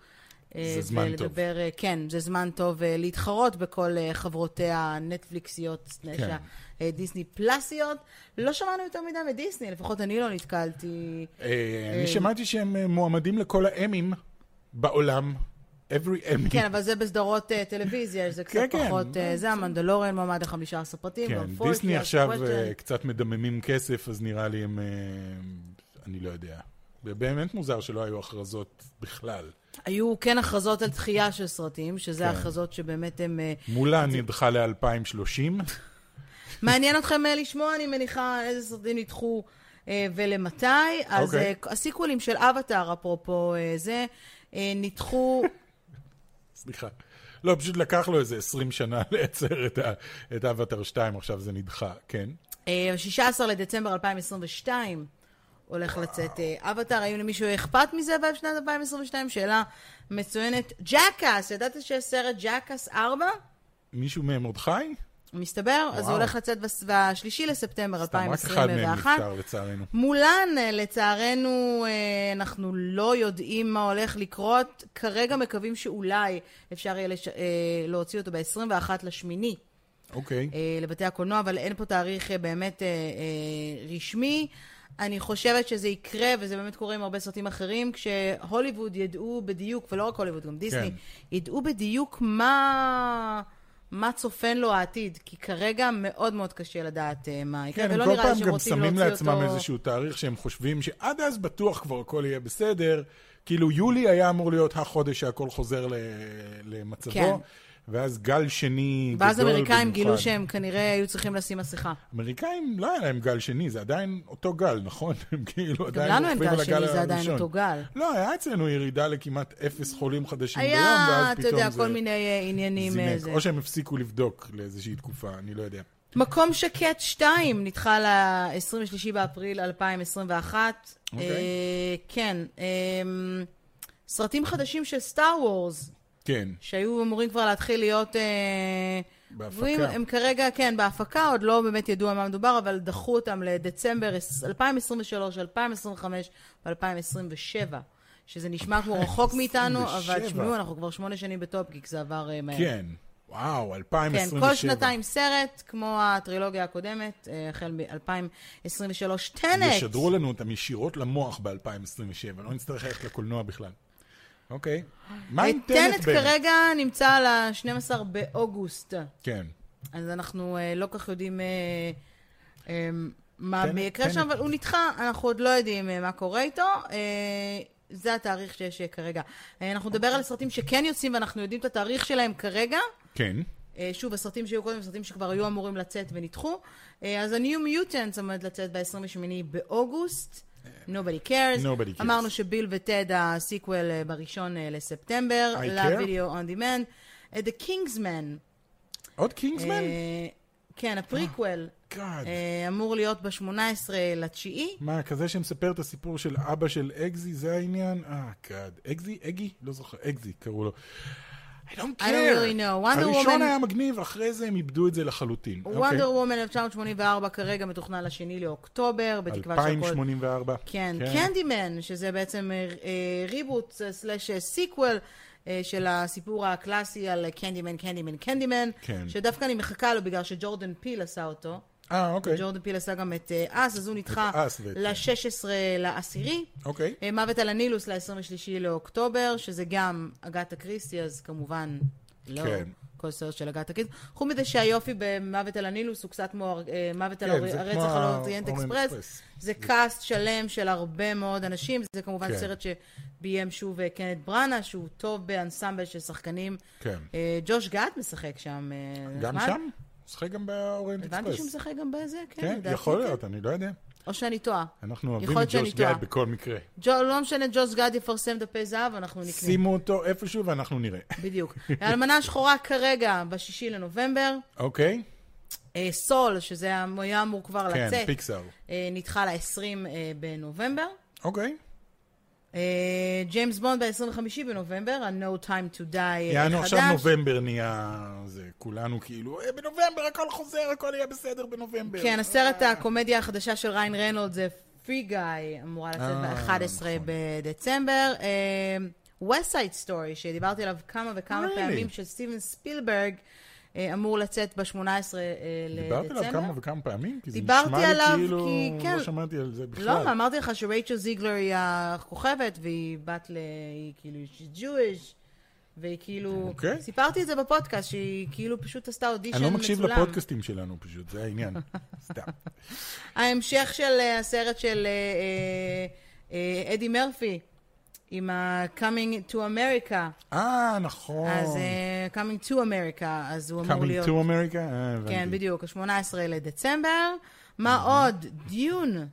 S1: אה,
S2: זה זמן טוב.
S1: ולדבר, אה, כן, זה זמן טוב אה, להתחרות בכל אה, חברותיה הנטפליקסיות,
S2: כן.
S1: דיסני פלאסיות. לא שמענו יותר מדי מדיסני, לפחות אני לא נתקלתי.
S2: אה, אני שמעתי שהם אה, מועמדים לכל האמים בעולם, every אמי.
S1: כן, אבל זה בסדרות אה, טלוויזיה, זה קצת
S2: כן, כן.
S1: פחות... אה, זה המנדלורן מועמד ל-15 פרטים.
S2: כן,
S1: והפורקי,
S2: דיסני
S1: אז
S2: עכשיו
S1: question.
S2: אה, קצת מדממים כסף, אז נראה לי הם... אה, אני לא יודע. זה באמת מוזר שלא היו הכרזות בכלל.
S1: היו כן הכרזות על דחייה של סרטים, שזה
S2: כן.
S1: הכרזות שבאמת הם... אה,
S2: מולה נדחה ל-2030.
S1: מעניין אתכם אה, לשמוע, אני מניחה, איזה סרטים נדחו אה, ולמתי. אז
S2: אוקיי.
S1: אה, הסיקוולים של אבטאר, אפרופו אה, זה, אה, נדחו...
S2: סליחה. לא, פשוט לקח לו איזה 20 שנה (laughs) לייצר את ה- את אבטר 2, עכשיו זה נדחה, כן.
S1: אה, 16 לדצמבר 2022 הולך לצאת אה, אבטאר, האם למישהו אכפת מזה בשנת 2022? שאלה מצוינת. ג'קאס, ידעת שיש סרט ג'קאס 4?
S2: מישהו מהם עוד חי?
S1: מסתבר, אז הוא
S2: וואו.
S1: הולך לצאת בס- בשלישי לספטמבר
S2: סתם, רק אחד מהם
S1: 2021.
S2: נפטר לצערנו.
S1: מולן, אה, לצערנו, אה, אנחנו לא יודעים מה הולך לקרות. כרגע מקווים שאולי אפשר יהיה לש... אה, להוציא אותו ב-21 לשמיני
S2: אוקיי.
S1: אה, לבתי הקולנוע, אבל אין פה תאריך אה, באמת אה, אה, רשמי. אני חושבת שזה יקרה, וזה באמת קורה עם הרבה סרטים אחרים, כשהוליווד ידעו בדיוק, ולא רק הוליווד, גם דיסני,
S2: כן.
S1: ידעו בדיוק מה... מה צופן לו העתיד, כי כרגע מאוד מאוד קשה לדעת אה, מה יקרה,
S2: כן, הם
S1: ולא
S2: כל
S1: נראה לי
S2: פעם
S1: שהם
S2: גם
S1: רוצים
S2: שמים
S1: להוציא
S2: לעצמם
S1: אותו...
S2: איזשהו תאריך שהם חושבים שעד אז בטוח כבר הכל יהיה בסדר. כאילו יולי היה אמור להיות החודש שהכל חוזר ל- למצבו,
S1: כן.
S2: ואז גל שני גדול
S1: ואז האמריקאים גילו
S2: במיוחד.
S1: שהם כנראה היו צריכים לשים מסכה.
S2: אמריקאים, לא היה להם גל שני, זה עדיין אותו גל, נכון? (laughs) הם כאילו
S1: גם
S2: עדיין
S1: לנו אין
S2: רוכבים
S1: גל
S2: על הגל
S1: שני, זה עדיין
S2: הראשון.
S1: אותו גל.
S2: לא, היה אצלנו ירידה לכמעט אפס חולים חדשים ביום,
S1: היה,
S2: ואז
S1: אתה יודע,
S2: פתאום
S1: כל
S2: זה
S1: מיני אה, עניינים... אה,
S2: זינק.
S1: זה.
S2: או שהם הפסיקו לבדוק לאיזושהי תקופה, אני לא יודע.
S1: מקום שקט 2 נדחה ל-23 באפריל 2021.
S2: אוקיי.
S1: אה, כן. אמ, סרטים חדשים של סטאר וורס,
S2: כן,
S1: שהיו אמורים כבר להתחיל להיות... אה,
S2: בהפקה.
S1: גבוהים. הם כרגע, כן, בהפקה, עוד לא באמת ידעו על מה מדובר, אבל דחו אותם לדצמבר 2023, 2025 ו-2027. שזה נשמע כמו רחוק מאיתנו, אבל
S2: 2027.
S1: תשמעו, אנחנו כבר שמונה שנים בטופגיק, זה עבר אה, מהר.
S2: כן, וואו,
S1: כן,
S2: 2027.
S1: כל שנתיים סרט, כמו הטרילוגיה הקודמת, אה, החל מ-2023. טנט!
S2: ישדרו לנו אותם ישירות למוח ב-2027, לא נצטרך ללכת לקולנוע בכלל. אוקיי. מה עם טנט
S1: אה, טנט
S2: באמת?
S1: כרגע נמצא על ה-12 באוגוסט,
S2: כן.
S1: אז אנחנו אה, לא כל כך יודעים אה, אה, מה
S2: טנט-
S1: יקרה שם,
S2: טנט.
S1: אבל הוא נדחה, אנחנו עוד לא יודעים אה, מה קורה איתו. אה, זה התאריך שיש אה, כרגע. אה, אנחנו נדבר על סרטים שכן יוצאים ואנחנו יודעים את התאריך שלהם כרגע.
S2: כן.
S1: אה, שוב, הסרטים שהיו קודם, סרטים שכבר היו אמורים לצאת ונדחו. אה, אז ה-New Mutants עומד לצאת ב-28 באוגוסט. Nobody cares.
S2: אה. Nobody cares.
S1: אמרנו שביל וטד הסיקוול אה, בראשון אה, לספטמבר.
S2: I care.
S1: ל-Video on Demand. אה, The Kingsman.
S2: עוד קינגסמן?
S1: אה, כן, הפריקוול.
S2: גאד.
S1: אה, אמור להיות ב-18 לתשיעי.
S2: מה, כזה שמספר את הסיפור של אבא של אגזי, זה העניין? אה, גאד. אגזי? אגי? לא זוכר. אגזי, קראו לו. I don't care.
S1: I don't really know. Wonder
S2: הראשון
S1: Woman-
S2: היה מגניב, אחרי זה הם איבדו את זה לחלוטין. אוקיי.
S1: וונדר וומן 1984 כרגע מתוכנן לשני לאוקטובר, בתקווה שהכל
S2: 2084.
S1: כן, קנדימן, שזה בעצם אה, אה, ריבוט אה, סלאש אה, סיקוול אה, של הסיפור הקלאסי על אה, קנדימן, קנדימן, קנדימן,
S2: כן.
S1: שדווקא אני מחכה לו בגלל שג'ורדן פיל עשה אותו.
S2: אה, אוקיי.
S1: ג'ורדן פיל עשה גם את אה, אס, אז הוא נדחה
S2: את אס ואת- כן.
S1: ל-16 לעשירי.
S2: אוקיי.
S1: אה, מוות על הנילוס ל-23 לאוקטובר, שזה גם אגת הקריסטי, אז כמובן לא
S2: כן.
S1: כל סרט של אגת הקריסטי. חוץ מזה שהיופי במוות על הנילוס הוא קצת כמו אה, מוות על
S2: כן,
S1: הר-
S2: זה
S1: הרצח
S2: כמו
S1: על
S2: ה-
S1: האוריינט
S2: אוריינט
S1: אקספרס.
S2: אקספרס.
S1: זה קאסט שלם של הרבה מאוד אנשים. זה כמובן
S2: כן.
S1: סרט שביים שוב אה, קנד בראנה, שהוא טוב באנסמבל של שחקנים.
S2: כן.
S1: אה, ג'וש גאט משחק שם. אה,
S2: גם
S1: נחמד.
S2: שם? משחק גם באוריינט אקספרס.
S1: הבנתי שהוא משחק גם בזה, כן.
S2: כן,
S1: לדעתי,
S2: יכול
S1: כן.
S2: להיות, אני לא יודע.
S1: או שאני טועה.
S2: אנחנו
S1: יכול
S2: אוהבים את
S1: להיות שאני
S2: ג'וש
S1: טועה.
S2: גאד בכל מקרה.
S1: ג'ו, לא משנה, ג'וס גד יפרסם דפי זהב, אנחנו נקנה.
S2: שימו אותו איפשהו ואנחנו נראה.
S1: בדיוק. האלמנה השחורה כרגע, בשישי לנובמבר.
S2: אוקיי?
S1: אה, סול, שזה היה- היה אמור כבר
S2: כן,
S1: לצאת,
S2: פיקסאר.
S1: אה, נדחה ל-20 אה, בנובמבר.
S2: אוקיי.
S1: אה, ג'יימס בונד ב-25 בנובמבר, ה-No Time to Die אה,
S2: יענו
S1: חדש.
S2: עכשיו נובמבר נהיה... זה כולנו כאילו, "אה, בנובמבר הכל חוזר, הכל יהיה בסדר בנובמבר.
S1: כן, הסרט הקומדיה החדשה של ריין ריינולד זה פרי גיא, אמורה לצאת
S2: אה,
S1: ב-11
S2: נכון.
S1: בדצמבר. אה, West Side Story, שדיברתי עליו כמה וכמה
S2: Really?
S1: פעמים, של סטיבן ספילברג, אה, אמור לצאת ב-18 לדצמבר.
S2: דיברתי עליו כמה וכמה פעמים, כי זה
S1: דיברתי
S2: נשמע לי
S1: עליו
S2: כאילו...
S1: כי- כן.
S2: לא שמעתי על זה בכלל.
S1: לא, מה, אמרתי לך שרייצ'ל זיגלר היא הכוכבת, והיא בת ל... היא כאילו, she's Jewish, והיא כאילו...
S2: אוקיי.
S1: סיפרתי את זה בפודקאסט, שהיא כאילו פשוט עשתה אודישן
S2: אני
S1: מצולם.
S2: לא מקשיב לפודקאסטים שלנו פשוט,
S1: (laughs)
S2: זה העניין. סתם.
S1: ההמשך של אה, הסרט של אה, אה, אה, אדי מרפי, עם ה-Coming to America,
S2: אה, נכון.
S1: אז אה, Coming to America, אז הוא אמור
S2: Coming
S1: להיות...
S2: to America? אה, הבנתי.
S1: כן, בדיוק, ה-18 לדצמבר. מה
S2: Mm-hmm.
S1: עוד? דיון.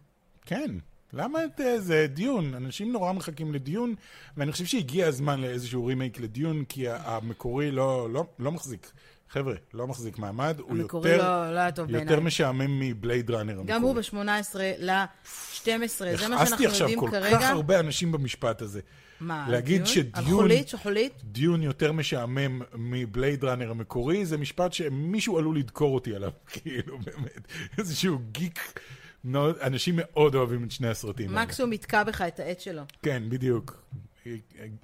S2: כן. למה את אה, זה דיון? אנשים נורא מחכים לדיון, ואני חושב שהגיע הזמן לאיזשהו רימייק לדיון, כי ה- המקורי לא, לא, לא מחזיק. חבר'ה, לא מחזיק מעמד, הוא
S1: המקורי
S2: יותר,
S1: לא- לא היה טוב
S2: יותר
S1: בעיניי.
S2: משעמם מבלייד ראנר.
S1: גם הוא ב-18 ל-12, זה מה שאנחנו
S2: הכעסתי
S1: יודעים
S2: עכשיו כל
S1: כרגע.
S2: כך הרבה אנשים במשפט הזה.
S1: מה,
S2: להגיד
S1: דיון?
S2: שדיון
S1: החולית, שחולית?
S2: דיון יותר משעמם מבלייד ראנר המקורי, זה משפט שמישהו עלול לדקור אותי עליו, (laughs) כאילו, באמת. איזשהו גיק. מאוד- אנשים מאוד אוהבים את שני הסרטים האלה.
S1: מקסימום יתקע בך את העט שלו.
S2: כן, בדיוק. י-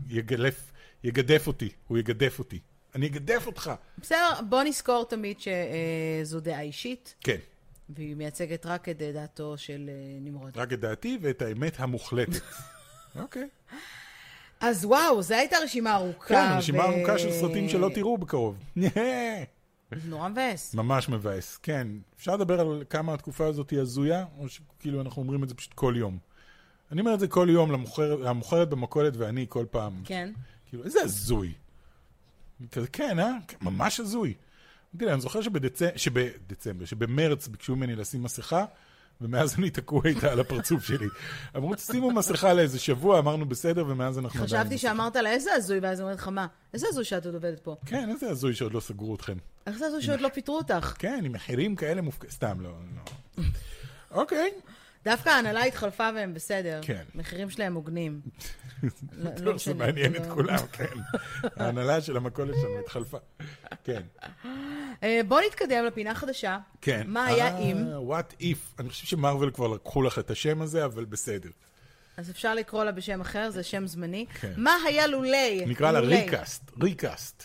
S2: יגלף, יגדף אותי, הוא יגדף אותי. אני אגדף אותך.
S1: בסדר, בוא נזכור תמיד שזו דעה אישית,
S2: כן,
S1: והיא מייצגת רק את דעתו של אה, נמרוד.
S2: רק את דעתי ואת האמת המוחלטת. אוקיי.
S1: אז וואו, זו הייתה רשימה ארוכה.
S2: כן, רשימה
S1: ו-
S2: ארוכה של סרטים שלא תראו בקרוב. (laughs)
S1: נורא מבאס.
S2: ממש מבאס, כן. אפשר לדבר על כמה התקופה הזאת היא הזויה, או שכאילו אנחנו אומרים את זה פשוט כל יום. אני אומר את זה כל יום למוכר, למוכרת במכולת ואני כל פעם.
S1: כן.
S2: כאילו, איזה הזוי. כזה, כן, אה? ממש הזוי. אמרתי לה, אני זוכר שבדצמבר, שבדצמבר, שבמרץ ביקשו ממני לשים מסכה, ומאז אני תקוע איתה על הפרצוף שלי. אמרו, תשימו מסכה לאיזה שבוע, אמרנו בסדר, ומאז אנחנו עדיין...
S1: חשבתי
S2: עם
S1: שאמרת לה, איזה הזוי, ואז היא אומרת לך, מה? איזה הזוי שאת עוד עובדת פה?
S2: מסכה." כן, איזה הזוי שעוד לא סגרו אתכם.
S1: איך זה הזוי שעוד לא פיטרו אותך?
S2: כן, עם מחירים כאלה מופק... סתם, לא, לא. אוקיי.
S1: דווקא ההנהלה התחלפה והם בסדר.
S2: כן.
S1: מחירים שלהם הוגנים. לא- לא
S2: טוב, זה
S1: משנה,
S2: מעניין את
S1: לא-
S2: כולם, כן. ההנהלה של המכולת שלנו התחלפה. כן.
S1: אה, בוא נתקדם לפינה חדשה.
S2: כן.
S1: מה היה אם?
S2: וואט איף. אני חושב שמרוויל כבר לקחו לך את השם הזה, אבל בסדר.
S1: אה, אז אפשר לקרוא לה בשם אחר, זה שם זמני.
S2: כן.
S1: מה היה לולי?
S2: נקרא לה
S1: לולי.
S2: ריקאסט. ריקאסט.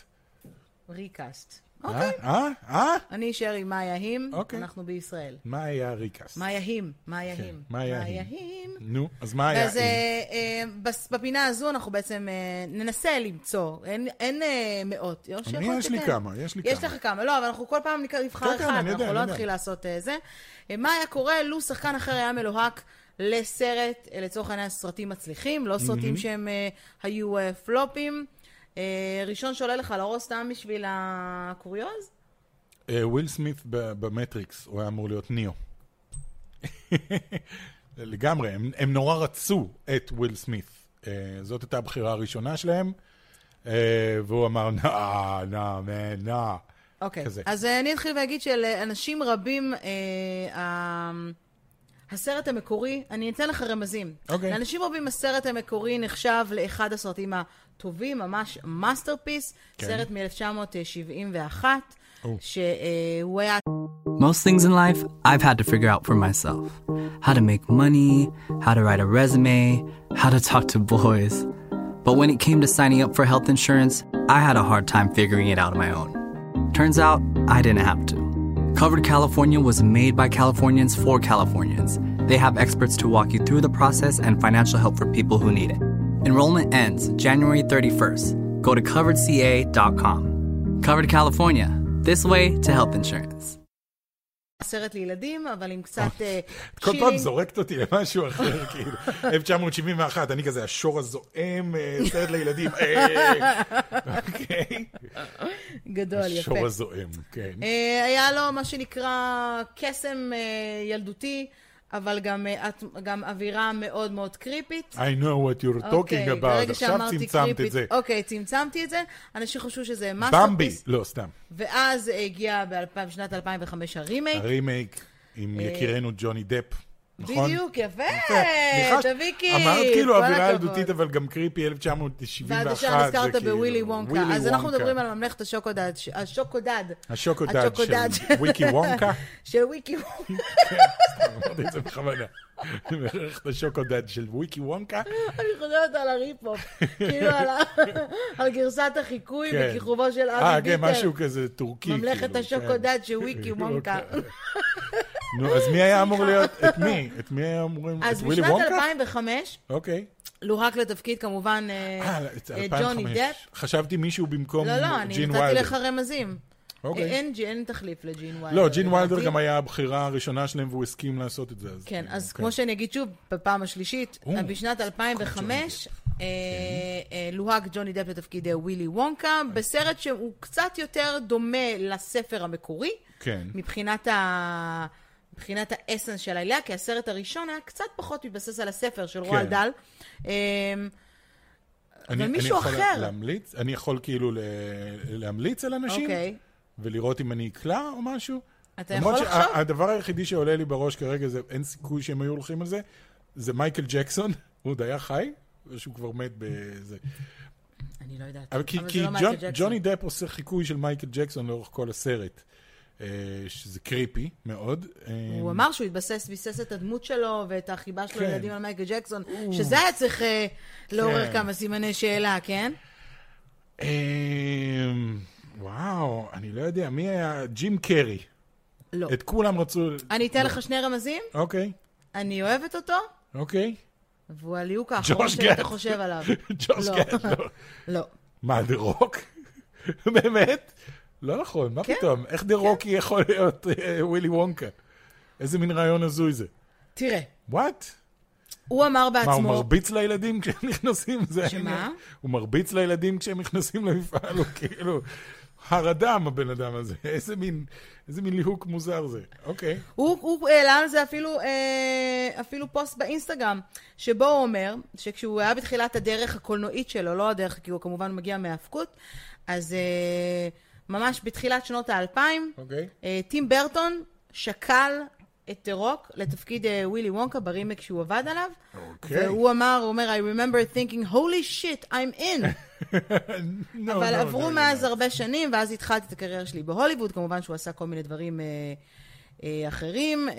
S1: ריקאסט.
S2: אה?
S1: אוקיי.
S2: אה? אה?
S1: אני אשאר עם מה היה אם,
S2: אוקיי.
S1: אנחנו בישראל.
S2: מה היה ריקאסט?
S1: מה היה אם? מה היה אם?
S2: מה היה אם?
S1: אם?
S2: נו, אז מה היה
S1: אז
S2: אם?
S1: אה, אה, בס- בפינה הזו אנחנו בעצם אה, ננסה למצוא, אין- אין אה, מאות. או שיכול להיות
S2: יש לי
S1: שכן.
S2: כמה, יש לי
S1: יש
S2: כמה.
S1: לך כמה, לא, אבל אנחנו כל פעם נק- נבחר
S2: כן, כן,
S1: אחד,
S2: אני
S1: אנחנו
S2: יודע, אני
S1: לא
S2: יודע.
S1: נתחיל לעשות אה, זה. אה, מה היה קורה לו שחקן אחר היה מלוהק לסרט, אה, לצורך העניין סרטים מצליחים, לא סרטים
S2: Mm-hmm.
S1: שהם אה, היו אה, פלופים. אה, ראשון שעולה לך לראש סתם בשביל הקוריוז?
S2: אה, וויל סמית ב- במטריקס, הוא היה אמור להיות ניאו. (laughs) לגמרי, הם, הם נורא רצו את וויל סמית. אה, זאת הייתה הבחירה הראשונה שלהם, אה, והוא אמר, נא, נא, מן, נא.
S1: אוקיי,
S2: כזה.
S1: אז אה, אני אתחיל ואגיד שלאנשים רבים, אה, ה- הסרט המקורי, אני אתן לך רמזים.
S2: אוקיי.
S1: לאנשים רבים הסרט המקורי נחשב לאחד הסרטים הטובים, ממש מאסטרפיס,
S2: כן.
S1: סרט מ-1971,
S2: או.
S1: שהוא היה
S3: Most things in life, I've had to figure out for myself how to make money, how to write a resume, how to talk to boys. But when it came to signing up for health insurance, I had a hard time figuring it out on my own. Turns out, I didn't have to. Covered California was made by Californians for Californians. They have experts to walk you through the process and financial help for people who need it. Enrollment ends January 31st. Go to coveredca.com. Covered California, this way to health insurance.
S1: סרט לילדים, אבל עם קצת אה,
S2: את כל פעם
S1: צ'ילינג.
S2: זורקת אותי למשהו אחר, (laughs) כאילו. 1971, אני כזה השור הזועם, אה, סרט לילדים, אה,
S1: (laughs)
S2: אוקיי.
S1: גדול, יפה.
S2: השור הזועם, כן.
S1: אה, היה לו מה שנקרא קסם אה, ילדותי, אבל גם, אה, את- גם אווירה מאוד מאוד קריפית.
S2: I know what you're talking
S1: אוקיי,
S2: about,
S1: ברגע
S2: עכשיו
S1: שאמרתי
S2: צמצמת את
S1: קריפית-
S2: זה.
S1: אוקיי, צמצמתי את זה. אנשים חשבו שזה
S2: במבי,
S1: מאסטרפיס.
S2: לא, סתם.
S1: ואז הגיע באלפיים- בשנת 2005 הרימייק.
S2: הרימייק עם יקירנו ג'וני דפ, נכון?
S1: אה. בדיוק, יפה,
S2: יפה. ניחשת-
S1: דביקי.
S2: אמרת כאילו
S1: כל
S2: אווירה
S1: הכבוד.
S2: ילדותית, אבל גם קריפי 1971.
S1: ועד עכשיו נזכרת
S2: זה כאילו-
S1: בווילי וונקה.
S2: ווילי
S1: אז אנחנו
S2: וונקה.
S1: מדברים על ממלכת השוקודד, ש- השוקודד.
S2: השוקודד
S1: השוקודד
S2: של וויקי
S1: (laughs)
S2: וונקה.
S1: של וויקי וונקה. (laughs)
S2: כן, סתם, אמרתי את זה בכוונה. אני מערך את השוקודד של וויקי
S1: אה,
S2: וונקה.
S1: אני חוזרת על
S2: (laughs)
S1: הריפ-הופ. כאילו על ה- (laughs) על גרסת החיקוי
S2: כן.
S1: בכיכובו של
S2: אה,
S1: אבי
S2: כן,
S1: ביטר.
S2: משהו כזה טורקי.
S1: ממלכת
S2: כאילו,
S1: השוקודד
S2: כן.
S1: של
S2: (laughs)
S1: וויקי וונקה.
S2: נו, אז מי היה אמור להיות? את מי? את מי היה אמורים? את
S1: אז
S2: ווילי
S1: בשנת
S2: וונקה?
S1: 2005,
S2: אוקיי.
S1: לוהק לתפקיד כמובן אה,
S2: אה,
S1: אה,
S2: את
S1: ג'וני
S2: 2005.
S1: דפ.
S2: חשבתי מישהו במקום
S1: לא, לא, אני
S2: ג'ין
S1: נתתי
S2: ויילר.
S1: לך רמזים.
S2: אוקיי.
S1: אה, אין ג'- אין תחליף לג'ין ויילר.
S2: לא, ג'ין ויילדר
S1: לדעתי.
S2: גם היה הבחירה הראשונה שלהם והוא הסכים לעשות את זה. אז
S1: אוקיי. כן,
S2: כאילו,
S1: אז כמו שאני אגיד שוב, בפעם השלישית, אה,
S2: או,
S1: בשנת 2005, אה,
S2: כן.
S1: אה, לוהק ג'וני דפ לתפקיד אה, ווילי וונקה, בסרט שהוא קצת יותר דומה לספר המקורי,
S2: כן.
S1: מבחינת ה... מבחינת האסנס של העלילה, כי הסרט הראשון היה קצת פחות מתבסס על הספר של
S2: כן.
S1: רועל דל. אמ,
S2: אני-
S1: מישהו
S2: אני יכול
S1: אחר.
S2: להמליץ? אני יכול כאילו ל- להמליץ על אנשים?
S1: אוקיי.
S2: ולראות אם אני אקלע או משהו.
S1: אתה יכול
S2: למרות
S1: לחשוב?
S2: שהדבר היחידי שעולה לי בראש כרגע, זה אין סיכוי שהם היו הולכים על זה, זה מייקל ג'קסון, (laughs) הוא עוד היה חי, או שהוא כבר מת
S1: (laughs)
S2: בזה.
S1: אני לא יודעת.
S2: אבל כי,
S1: אבל זה
S2: כי
S1: לא מייקל
S2: ג'ון,
S1: ג'קסון.
S2: ג'וני דפ עושה חיקוי של מייקל ג'קסון לאורך כל הסרט, אה, שזה קריפי מאוד. אה,
S1: הוא אמר שהוא התבסס, ביסס את הדמות שלו ואת החיבה שלו
S2: כן.
S1: לילדים על מייקל ג'קסון, שזה היה צריך אה, לעורר כמה סימני שאלה, כן?
S2: אה, וואו, אני לא יודע, מי היה? ג'ים קרי.
S1: לא.
S2: את לא. כולם רצו...
S1: אני אתן לך שני רמזים,
S2: אוקיי,
S1: אני אוהבת אותו,
S2: אוקיי. (laughs)
S1: והוא הליהוק האחרון
S2: ג'וש
S1: שאתה
S2: גט.
S1: חושב עליו.
S2: ג'וש
S1: לא.
S2: גט, לא.
S1: לא.
S2: מה, דה רוק? (laughs) באמת? לא נכון, מה
S1: כן,
S2: פתאום? איך דה רוקי יכול להיות אה, ווילי וונקה? איזה מין רעיון הזוי זה.
S1: תראה,
S2: וואט?
S1: הוא אמר
S2: מה, הוא
S1: בעצמו,
S2: מרביץ לילדים כשהם נכנסים? (laughs) זה
S1: שמה?
S2: העניין. הוא מרביץ לילדים כשהם נכנסים למפעל, הוא כאילו... הר אדם, הבן אדם הזה. (laughs) איזה מין, איזה מין ליהוק מוזר זה. אוקיי.
S1: הוא הוא העלה על זה אפילו, אה, אפילו פוסט באינסטגרם, שבו הוא אומר שכשהוא היה בתחילת הדרך הקולנועית שלו, לא הדרך, כי הוא כמובן מגיע מהאבקות, אז אה, ממש בתחילת שנות האלפיים,
S2: אוקיי.
S1: אה, טים ברטון שקל את דה רוק לתפקיד אה, ווילי וונקה ברימק שהוא עבד עליו,
S2: אוקיי.
S1: והוא אמר, הוא אומר, I remember thinking, holy shit, I'm
S2: (laughs)
S1: in.
S2: No,
S1: אבל
S2: no,
S1: עברו
S2: no,
S1: מאז
S2: no.
S1: הרבה שנים, ואז התחלתי את הקריירה שלי בהוליווד, כמובן שהוא עשה כל מיני דברים אה, אה, אחרים, אה,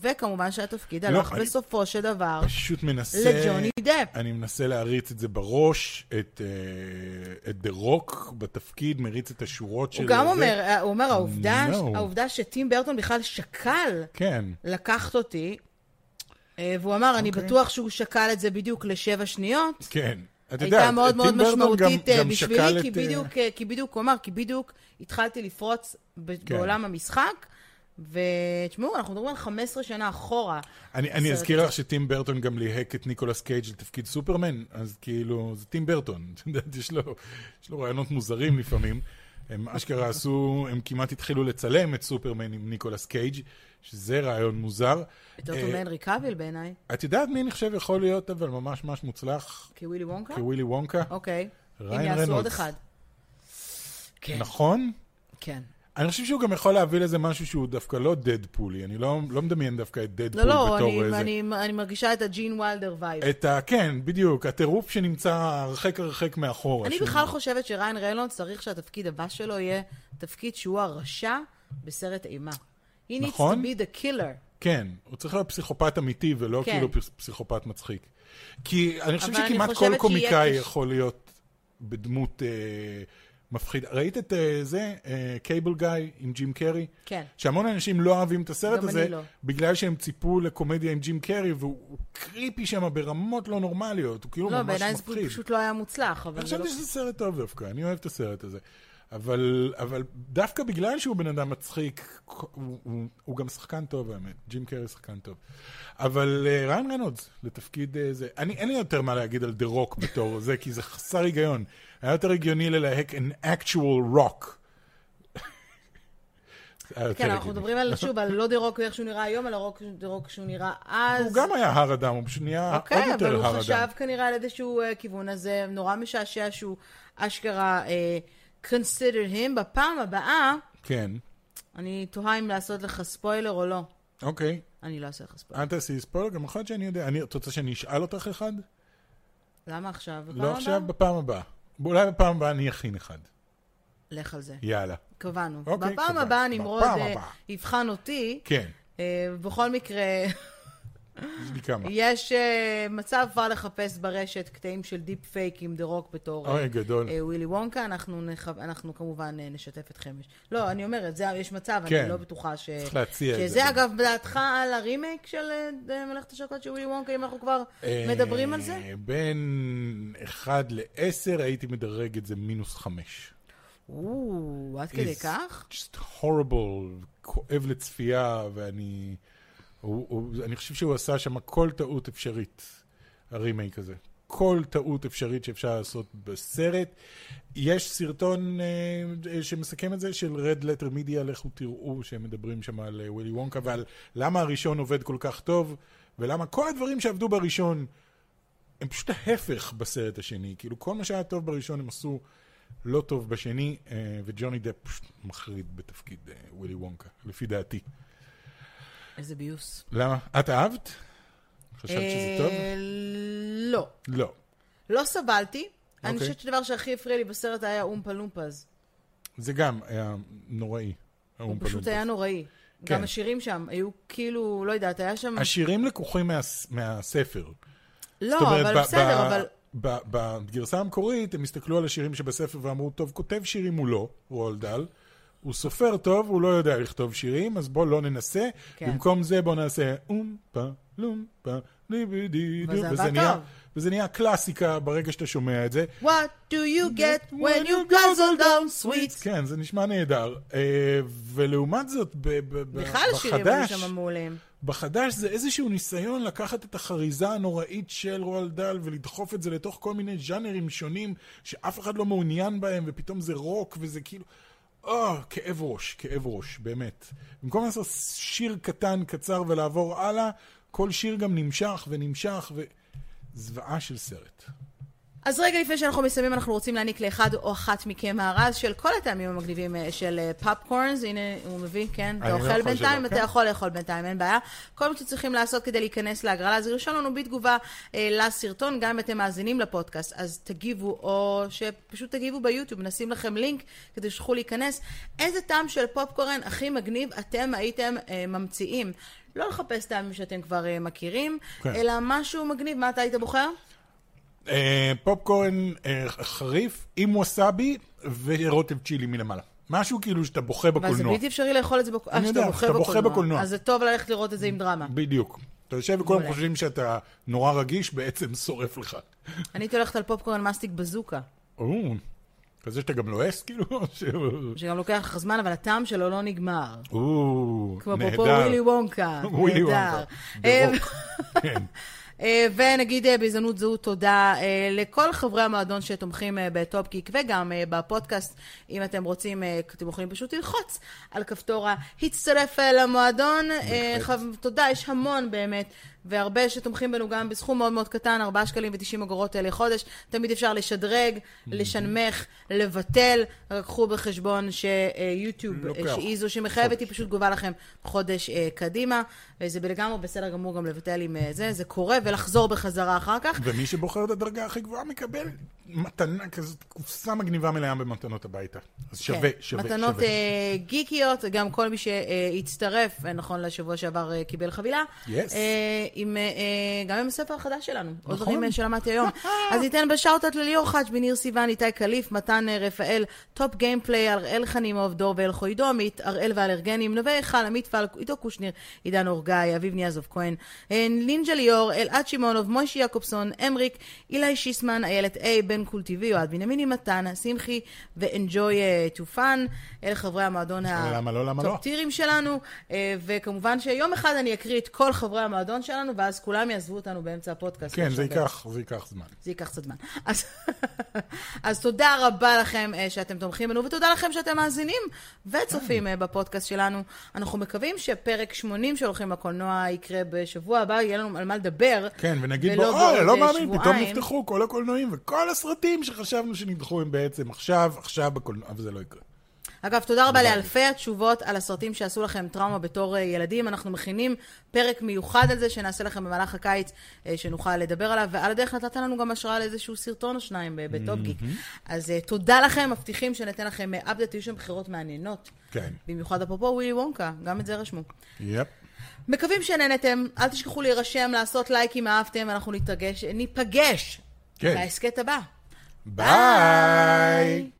S1: וכמובן שהתפקיד
S2: לא,
S1: הלך
S2: אני-
S1: בסופו של דבר
S2: פשוט אה, מנסה...
S1: לג'וני דפ.
S2: אני מנסה להריץ את זה בראש, את, אה, את דה רוק בתפקיד, מריץ את השורות של...
S1: הוא גם
S2: זה.
S1: אומר, אה, הוא אומר, העובדה,
S2: No.
S1: העובדה שטים ברטון בכלל שקל
S2: כן.
S1: לקחת אותי, אה, והוא אמר, אני
S2: אוקיי.
S1: בטוח שהוא שקל את זה בדיוק לשבע שניות.
S2: כן. את יודעת,
S1: הייתה מאוד
S2: טים
S1: מאוד
S2: ברטון
S1: משמעותית
S2: גם-
S1: אה,
S2: גם שקל
S1: בשבילי, כי
S2: את, אה,
S1: בדיוק, אה, כי בדיוק, הוא אמר, כי בדיוק התחלתי לפרוץ ב-
S2: כן.
S1: בעולם המשחק, ותשמעו, אנחנו מדברים על 15 שנה אחורה.
S2: אני, אני אזכיר לך שטים ברטון גם ליהק את ניקולס קייג' לתפקיד סופרמן, אז כאילו, זה טים ברטון. (laughs) את יודעת, יש לו, יש לו רעיונות מוזרים לפעמים. הם אשכרה עשו, הם כמעט התחילו לצלם את סופרמן עם ניקולס קייג', שזה רעיון מוזר.
S1: יותר
S2: אה,
S1: טוב מהנרי קאביל בעיניי,
S2: את יודעת מי אני חושב יכול להיות אבל ממש ממש מוצלח
S1: כווילי וונקה?
S2: כווילי וונקה?
S1: אוקיי.
S2: ריין
S1: אם יעשו עוד
S2: רנולדס.
S1: אחד. כן,
S2: נכון?
S1: כן.
S2: אני חושב שהוא גם יכול להביא לזה משהו שהוא דווקא לא דדפולי, אני לא, לא מדמיין דווקא את
S1: לא,
S2: דדפול
S1: לא,
S2: בתור
S1: אני-
S2: איזה...
S1: אני אני מרגישה את הג'ין ויילדר וייב.
S2: את ה... כן, בדיוק, הטירוף שנמצא הרחק הרחק מאחורה.
S1: אני
S2: שהוא-
S1: בכלל חושבת שריין ריינולדס צריך שהתפקיד הבא שלו יהיה תפקיד שהוא הרשע בסרט אימה. He needs to
S2: נכון.
S1: be the killer.
S2: כן, הוא צריך להיות פסיכופת אמיתי ולא
S1: כן.
S2: כאילו פס- פסיכופת מצחיק. כי אני חושב
S1: אבל אני
S2: שכמעט
S1: חושבת
S2: כל
S1: שיהיה
S2: קומיקאי
S1: קשה.
S2: יכול להיות בדמות אה, מפחידה. ראית את אה, זה, קייבל גאי עם ג'ים קרי?
S1: כן.
S2: שהמון אנשים לא אוהבים את הסרט
S1: גם
S2: הזה,
S1: אני לא.
S2: בגלל שהם ציפו לקומדיה עם ג'ים קרי, והוא הוא קריפי שם ברמות לא נורמליות, הוא כאילו
S1: לא,
S2: ממש
S1: בעיניי
S2: מפחיד.
S1: זה פשוט לא היה מוצלח, אבל זה לא...
S2: חשבתי שזה סרט טוב דווקא, אני אוהב את הסרט הזה. אבל, אבל דווקא בגלל שהוא בן אדם מצחיק, הוא, הוא, הוא גם שחקן טוב האמת, ג'ים קרי שחקן טוב. אבל uh, ריין רנודס, לתפקיד uh, זה, אני, אין לי יותר מה להגיד על דה רוק בתור זה, כי זה חסר היגיון. היה יותר הגיוני ללהק an actual rock. (laughs) זה היה יותר
S1: כן, אנחנו
S2: הגיוני.
S1: מדברים על, שוב, על לא דה רוק איך שהוא נראה היום, על הרוק דה רוק שהוא נראה אז.
S2: הוא גם היה הר אדם, הוא פשוט נהיה עוד
S1: אוקיי,
S2: יותר הר
S1: אבל
S2: אדם.
S1: הוא חשב כנראה על איזשהו אה, כיוון, אז זה נורא משעשע שהוא אשכרה אה, considered him. בפעם הבאה,
S2: כן,
S1: אני תוהה אם לעשות לך ספוילר או לא.
S2: אוקיי.
S1: אני לא אעשה לך ספוילר.
S2: אל תעשי ספוילר, גם יכול להיות שאני יודע. אני, את רוצה שאני אשאל אותך אחד?
S1: למה עכשיו? בפעם
S2: לא
S1: הבאה?
S2: עכשיו, בפעם הבאה. אולי בפעם הבאה אני אכין אחד.
S1: לך על זה.
S2: יאללה.
S1: קבענו.
S2: אוקיי,
S1: בפעם
S2: קבענו.
S1: הבאה נמרוד
S2: בפעם
S1: אה,
S2: הבאה.
S1: יבחן אותי.
S2: כן,
S1: אה, בכל
S2: (laughs)
S1: מקרה...
S2: יש לי כמה.
S1: יש אה, מצב כבר לחפש ברשת קטעים של דיפ פייק עם דה רוק בתור
S2: אוי, גדול.
S1: אה, ווילי וונקה, אנחנו, נח... אנחנו כמובן אה, נשתף אתכם. לא, אני אומרת, זה, יש מצב,
S2: כן.
S1: אני לא בטוחה ש...
S2: צריך להציע את
S1: שזה,
S2: זה.
S1: אגב, דעתך על הרימייק של אה, אה, מלאכת השוקולד של ווילי וונקה, אם אנחנו כבר מדברים על זה?
S2: אה, בין 1 ל-10 הייתי מדרג את זה מינוס 5.
S1: או, עד כדי כך?
S2: just horrible, כואב לצפייה, ואני... הוא, הוא, אני חושב שהוא עשה שם כל טעות אפשרית, הרימייק הזה. כל טעות אפשרית שאפשר לעשות בסרט. יש סרטון אה, אה, שמסכם את זה, של Red Letter Media, לכו תראו שהם מדברים שם על אה, ווילי וונקה ועל למה הראשון עובד כל כך טוב, ולמה כל הדברים שעבדו בראשון הם פשוט ההפך בסרט השני. כאילו, כל מה שהיה טוב בראשון הם עשו לא טוב בשני, אה, וג'וני דפ פשוט מחריד בתפקיד אה, ווילי וונקה, לפי דעתי.
S1: איזה ביוס.
S2: למה? את אהבת? חשבת שזה טוב?
S1: אה, לא.
S2: לא.
S1: לא סבלתי. אני
S2: אוקיי.
S1: חושבת שהדבר שהכי הפריע לי בסרט היה אומפה לומפז.
S2: זה גם היה נוראי.
S1: הוא
S2: האום
S1: פשוט
S2: פלום
S1: היה
S2: פס.
S1: נוראי.
S2: כן.
S1: גם השירים שם היו כאילו, לא יודעת, היה שם...
S2: השירים לקוחים מה- מהספר.
S1: לא,
S2: זאת אומרת,
S1: אבל
S2: ב-
S1: בסדר,
S2: ב-
S1: אבל...
S2: ב- בגרסה המקורית, הם הסתכלו על השירים שבספר ואמרו, טוב, כותב שירים הוא לא, רולד דל. הוא סופר טוב, הוא לא יודע לכתוב שירים, אז בוא לא ננסה.
S1: כן.
S2: כן. במקום זה בוא נעשה אום פה, לום פה, ליבי די דו.
S1: וזה עבד
S2: וזה נהיה-
S1: טוב.
S2: וזה נהיה קלאסיקה ברגע שאתה שומע את זה.
S1: What do you get when you guzzle down sweet?
S2: כן, זה נשמע נהדר. אה, ולעומת זאת, ב- ב- ב-
S1: בכלל השירים היו
S2: בחדש,
S1: שם מעולים.
S2: בחדש זה איזשהו ניסיון לקחת את החריזה הנוראית של רועל דל ולדחוף את זה לתוך כל מיני ז'אנרים שונים שאף אחד לא מעוניין בהם, ופתאום זה רוק וזה כאילו... אה, כאב ראש, כאב ראש, באמת. במקום לעשות שיר קטן, קצר ולעבור הלאה, כל שיר גם נמשך ונמשך ו... זוועה של סרט.
S1: אז רגע לפני שאנחנו מסיימים, אנחנו רוצים להעניק לאחד או אחת מכם מארז של כל הטעמים המגניבים אה, של אה, פופקורנס. הנה, הוא מביא, כן, אתה
S2: אני לא
S1: אוכל
S2: יכול
S1: בינתיים,
S2: שלא,
S1: אתה
S2: כן.
S1: יכול לאכול בינתיים, אין בעיה. כל מה שצריכים לעשות כדי להיכנס להגרלה, זה לרשום לנו בתגובה אה, לסרטון, גם אם אתם מאזינים לפודקאסט, אז תגיבו, או שפשוט תגיבו ביוטיוב, נשים לכם לינק כדי שתוכלו להיכנס. איזה טעם של פופקורן הכי מגניב אתם הייתם אה, ממציאים? לא לחפש טעמים שאתם כבר אה, מכירים,
S2: כן.
S1: אלא משהו מגניב, מה אתה היית בוחר?
S2: אה, פופקורן אה, חריף עם ווסאבי ורוטב צ'ילי מלמעלה. משהו כאילו שאתה בוכה
S1: אבל זה
S2: בקולנוע.
S1: בלתי אפשרי לאכול את זה בקולנוע.
S2: יודע, אתה בוכה בקולנוע.
S1: אז זה טוב ללכת לראות את זה עם דרמה.
S2: בדיוק. אתה יושב וכולם
S1: מעולה.
S2: חושבים שאתה נורא רגיש, בעצם שורף לך.
S1: אני הייתי הולכת על פופקורן מסטיק בזוקה,
S2: או, כזה שאתה גם לועס, כאילו? ש-
S1: שגם לוקח לך זמן, אבל הטעם שלו לא נגמר.
S2: או,
S1: כמו אפרופו
S2: נהדר.
S1: ווילי וונקה.
S2: (laughs) ווילי
S1: נהדר.
S2: וונקה.
S1: אה,
S2: ברוק.
S1: (laughs)
S2: כן.
S1: אה, ונגיד אה, בהזדמנות זו תודה אה, לכל חברי המועדון שתומכים אה, בטופ גיק וגם אה, בפודקאסט. אם אתם רוצים, אה, אתם יכולים פשוט ללחוץ על כפתור ה"הצטרף אה, למועדון". אה,
S2: בהחלט.
S1: חב- תודה, יש המון באמת, והרבה שתומכים בנו גם בסכום מאוד מאוד קטן, 4 שקלים ו-90 אגורות אה, לחודש. תמיד אפשר לשדרג, לשנמך, לבטל. רק קחו בחשבון שיוטיוב,
S2: לוקח.
S1: שהיא זו שמחייבת, היא פשוט גובה לכם חודש אה, קדימה, וזה לגמרי בסדר גמור גם לבטל עם אה, זה, זה קורה, ולחזור בחזרה אחר כך.
S2: ומי שבוחר את הדרגה הכי גבוהה מקבל מתנה כזאת, קופסה מגניבה מלאה במתנות הביתה. אז שווה,
S1: כן.
S2: שווה,
S1: מתנות
S2: שווה.
S1: אה, גיקיות, גם כל מי שהצטרף, אה, נכון, לשבוע שעבר אה, קיבל חבילה.
S2: Yes.
S1: אה, עם, אה, אה, גם עם הספר החדש שלנו, עוד
S2: נכון.
S1: דברים אה, שלמדתי היום. אז ניתן בשאוטות לליאור חאג', בניר סיוון, איתי קליף, מתן אה, רפאל, טופ גיימפליי, הראל חנימוב, דור ואלחוידו, עמית, הראל והאלרגנים, נווה היכל, עמית פלק, עידו קושניר, עידן אורגאי, אביב ניאזוב כהן, אה, לינג'ה ליאור, אלעד שמעונוב, מוישי יעקובסון, אמריק, אילי שיסמן, איילת איי, בן קולטיבי, יועד בנימיני מתן, שמחי ואנג'וי אה, טופן, אלה חברי המועדון ה...
S2: למה לא, למה לא?
S1: הטירים שלנו, אה, וכמובן שיום אחד אני אקריא את כל חברי המועדון שלנו, ואז כולם יעזבו אותנו באמצע הפודקאסט.
S2: כן, זה
S1: עכשיו,
S2: ייקח, זה ייקח זמן.
S1: זה ייקח קצת זמן. אז, (laughs) אז תודה רבה לכם אה, שאתם תומכים בנו, ותודה לכם שאתם מאזינים וצופים אה, בפודקאסט שלנו. אנחנו מקווים שפרק 80 שהולכים לקולנוע יקרה בשבוע הבא, יהיה לנו על מה לדבר.
S2: כן, ונגיד בו,
S1: ולא
S2: אוי, לא
S1: בעוד, אה,
S2: מאמין, פתאום
S1: שבועיים."
S2: נפתחו כל הקולנועים, וכל הסרטים שחשבנו שנדחו הם בעצם עכשיו, עכשיו בקולנוע, אבל זה לא יקרה.
S1: אגב, תודה רבה לאלפי התשובות על הסרטים שעשו לכם טראומה בתור אה, ילדים. אנחנו מכינים פרק מיוחד על זה שנעשה לכם במהלך הקיץ, אה, שנוכל לדבר עליו, ועל הדרך נתת לנו גם השראה על איזשהו סרטון או שניים אה, בטופ גיק. אז אה, תודה לכם, מבטיחים שניתן לכם אה, update, היו שם בחירות מעניינות.
S2: כן.
S1: במיוחד אפרופו ווילי וונקה, גם את זה רשמו.
S2: יפ.
S1: מקווים שנהנתם, אל תשכחו להירשם, לעשות לייק אם אהבתם, אנחנו ניפגש, ניפגש
S2: כן.
S1: בהסכת הבא.
S2: Bye.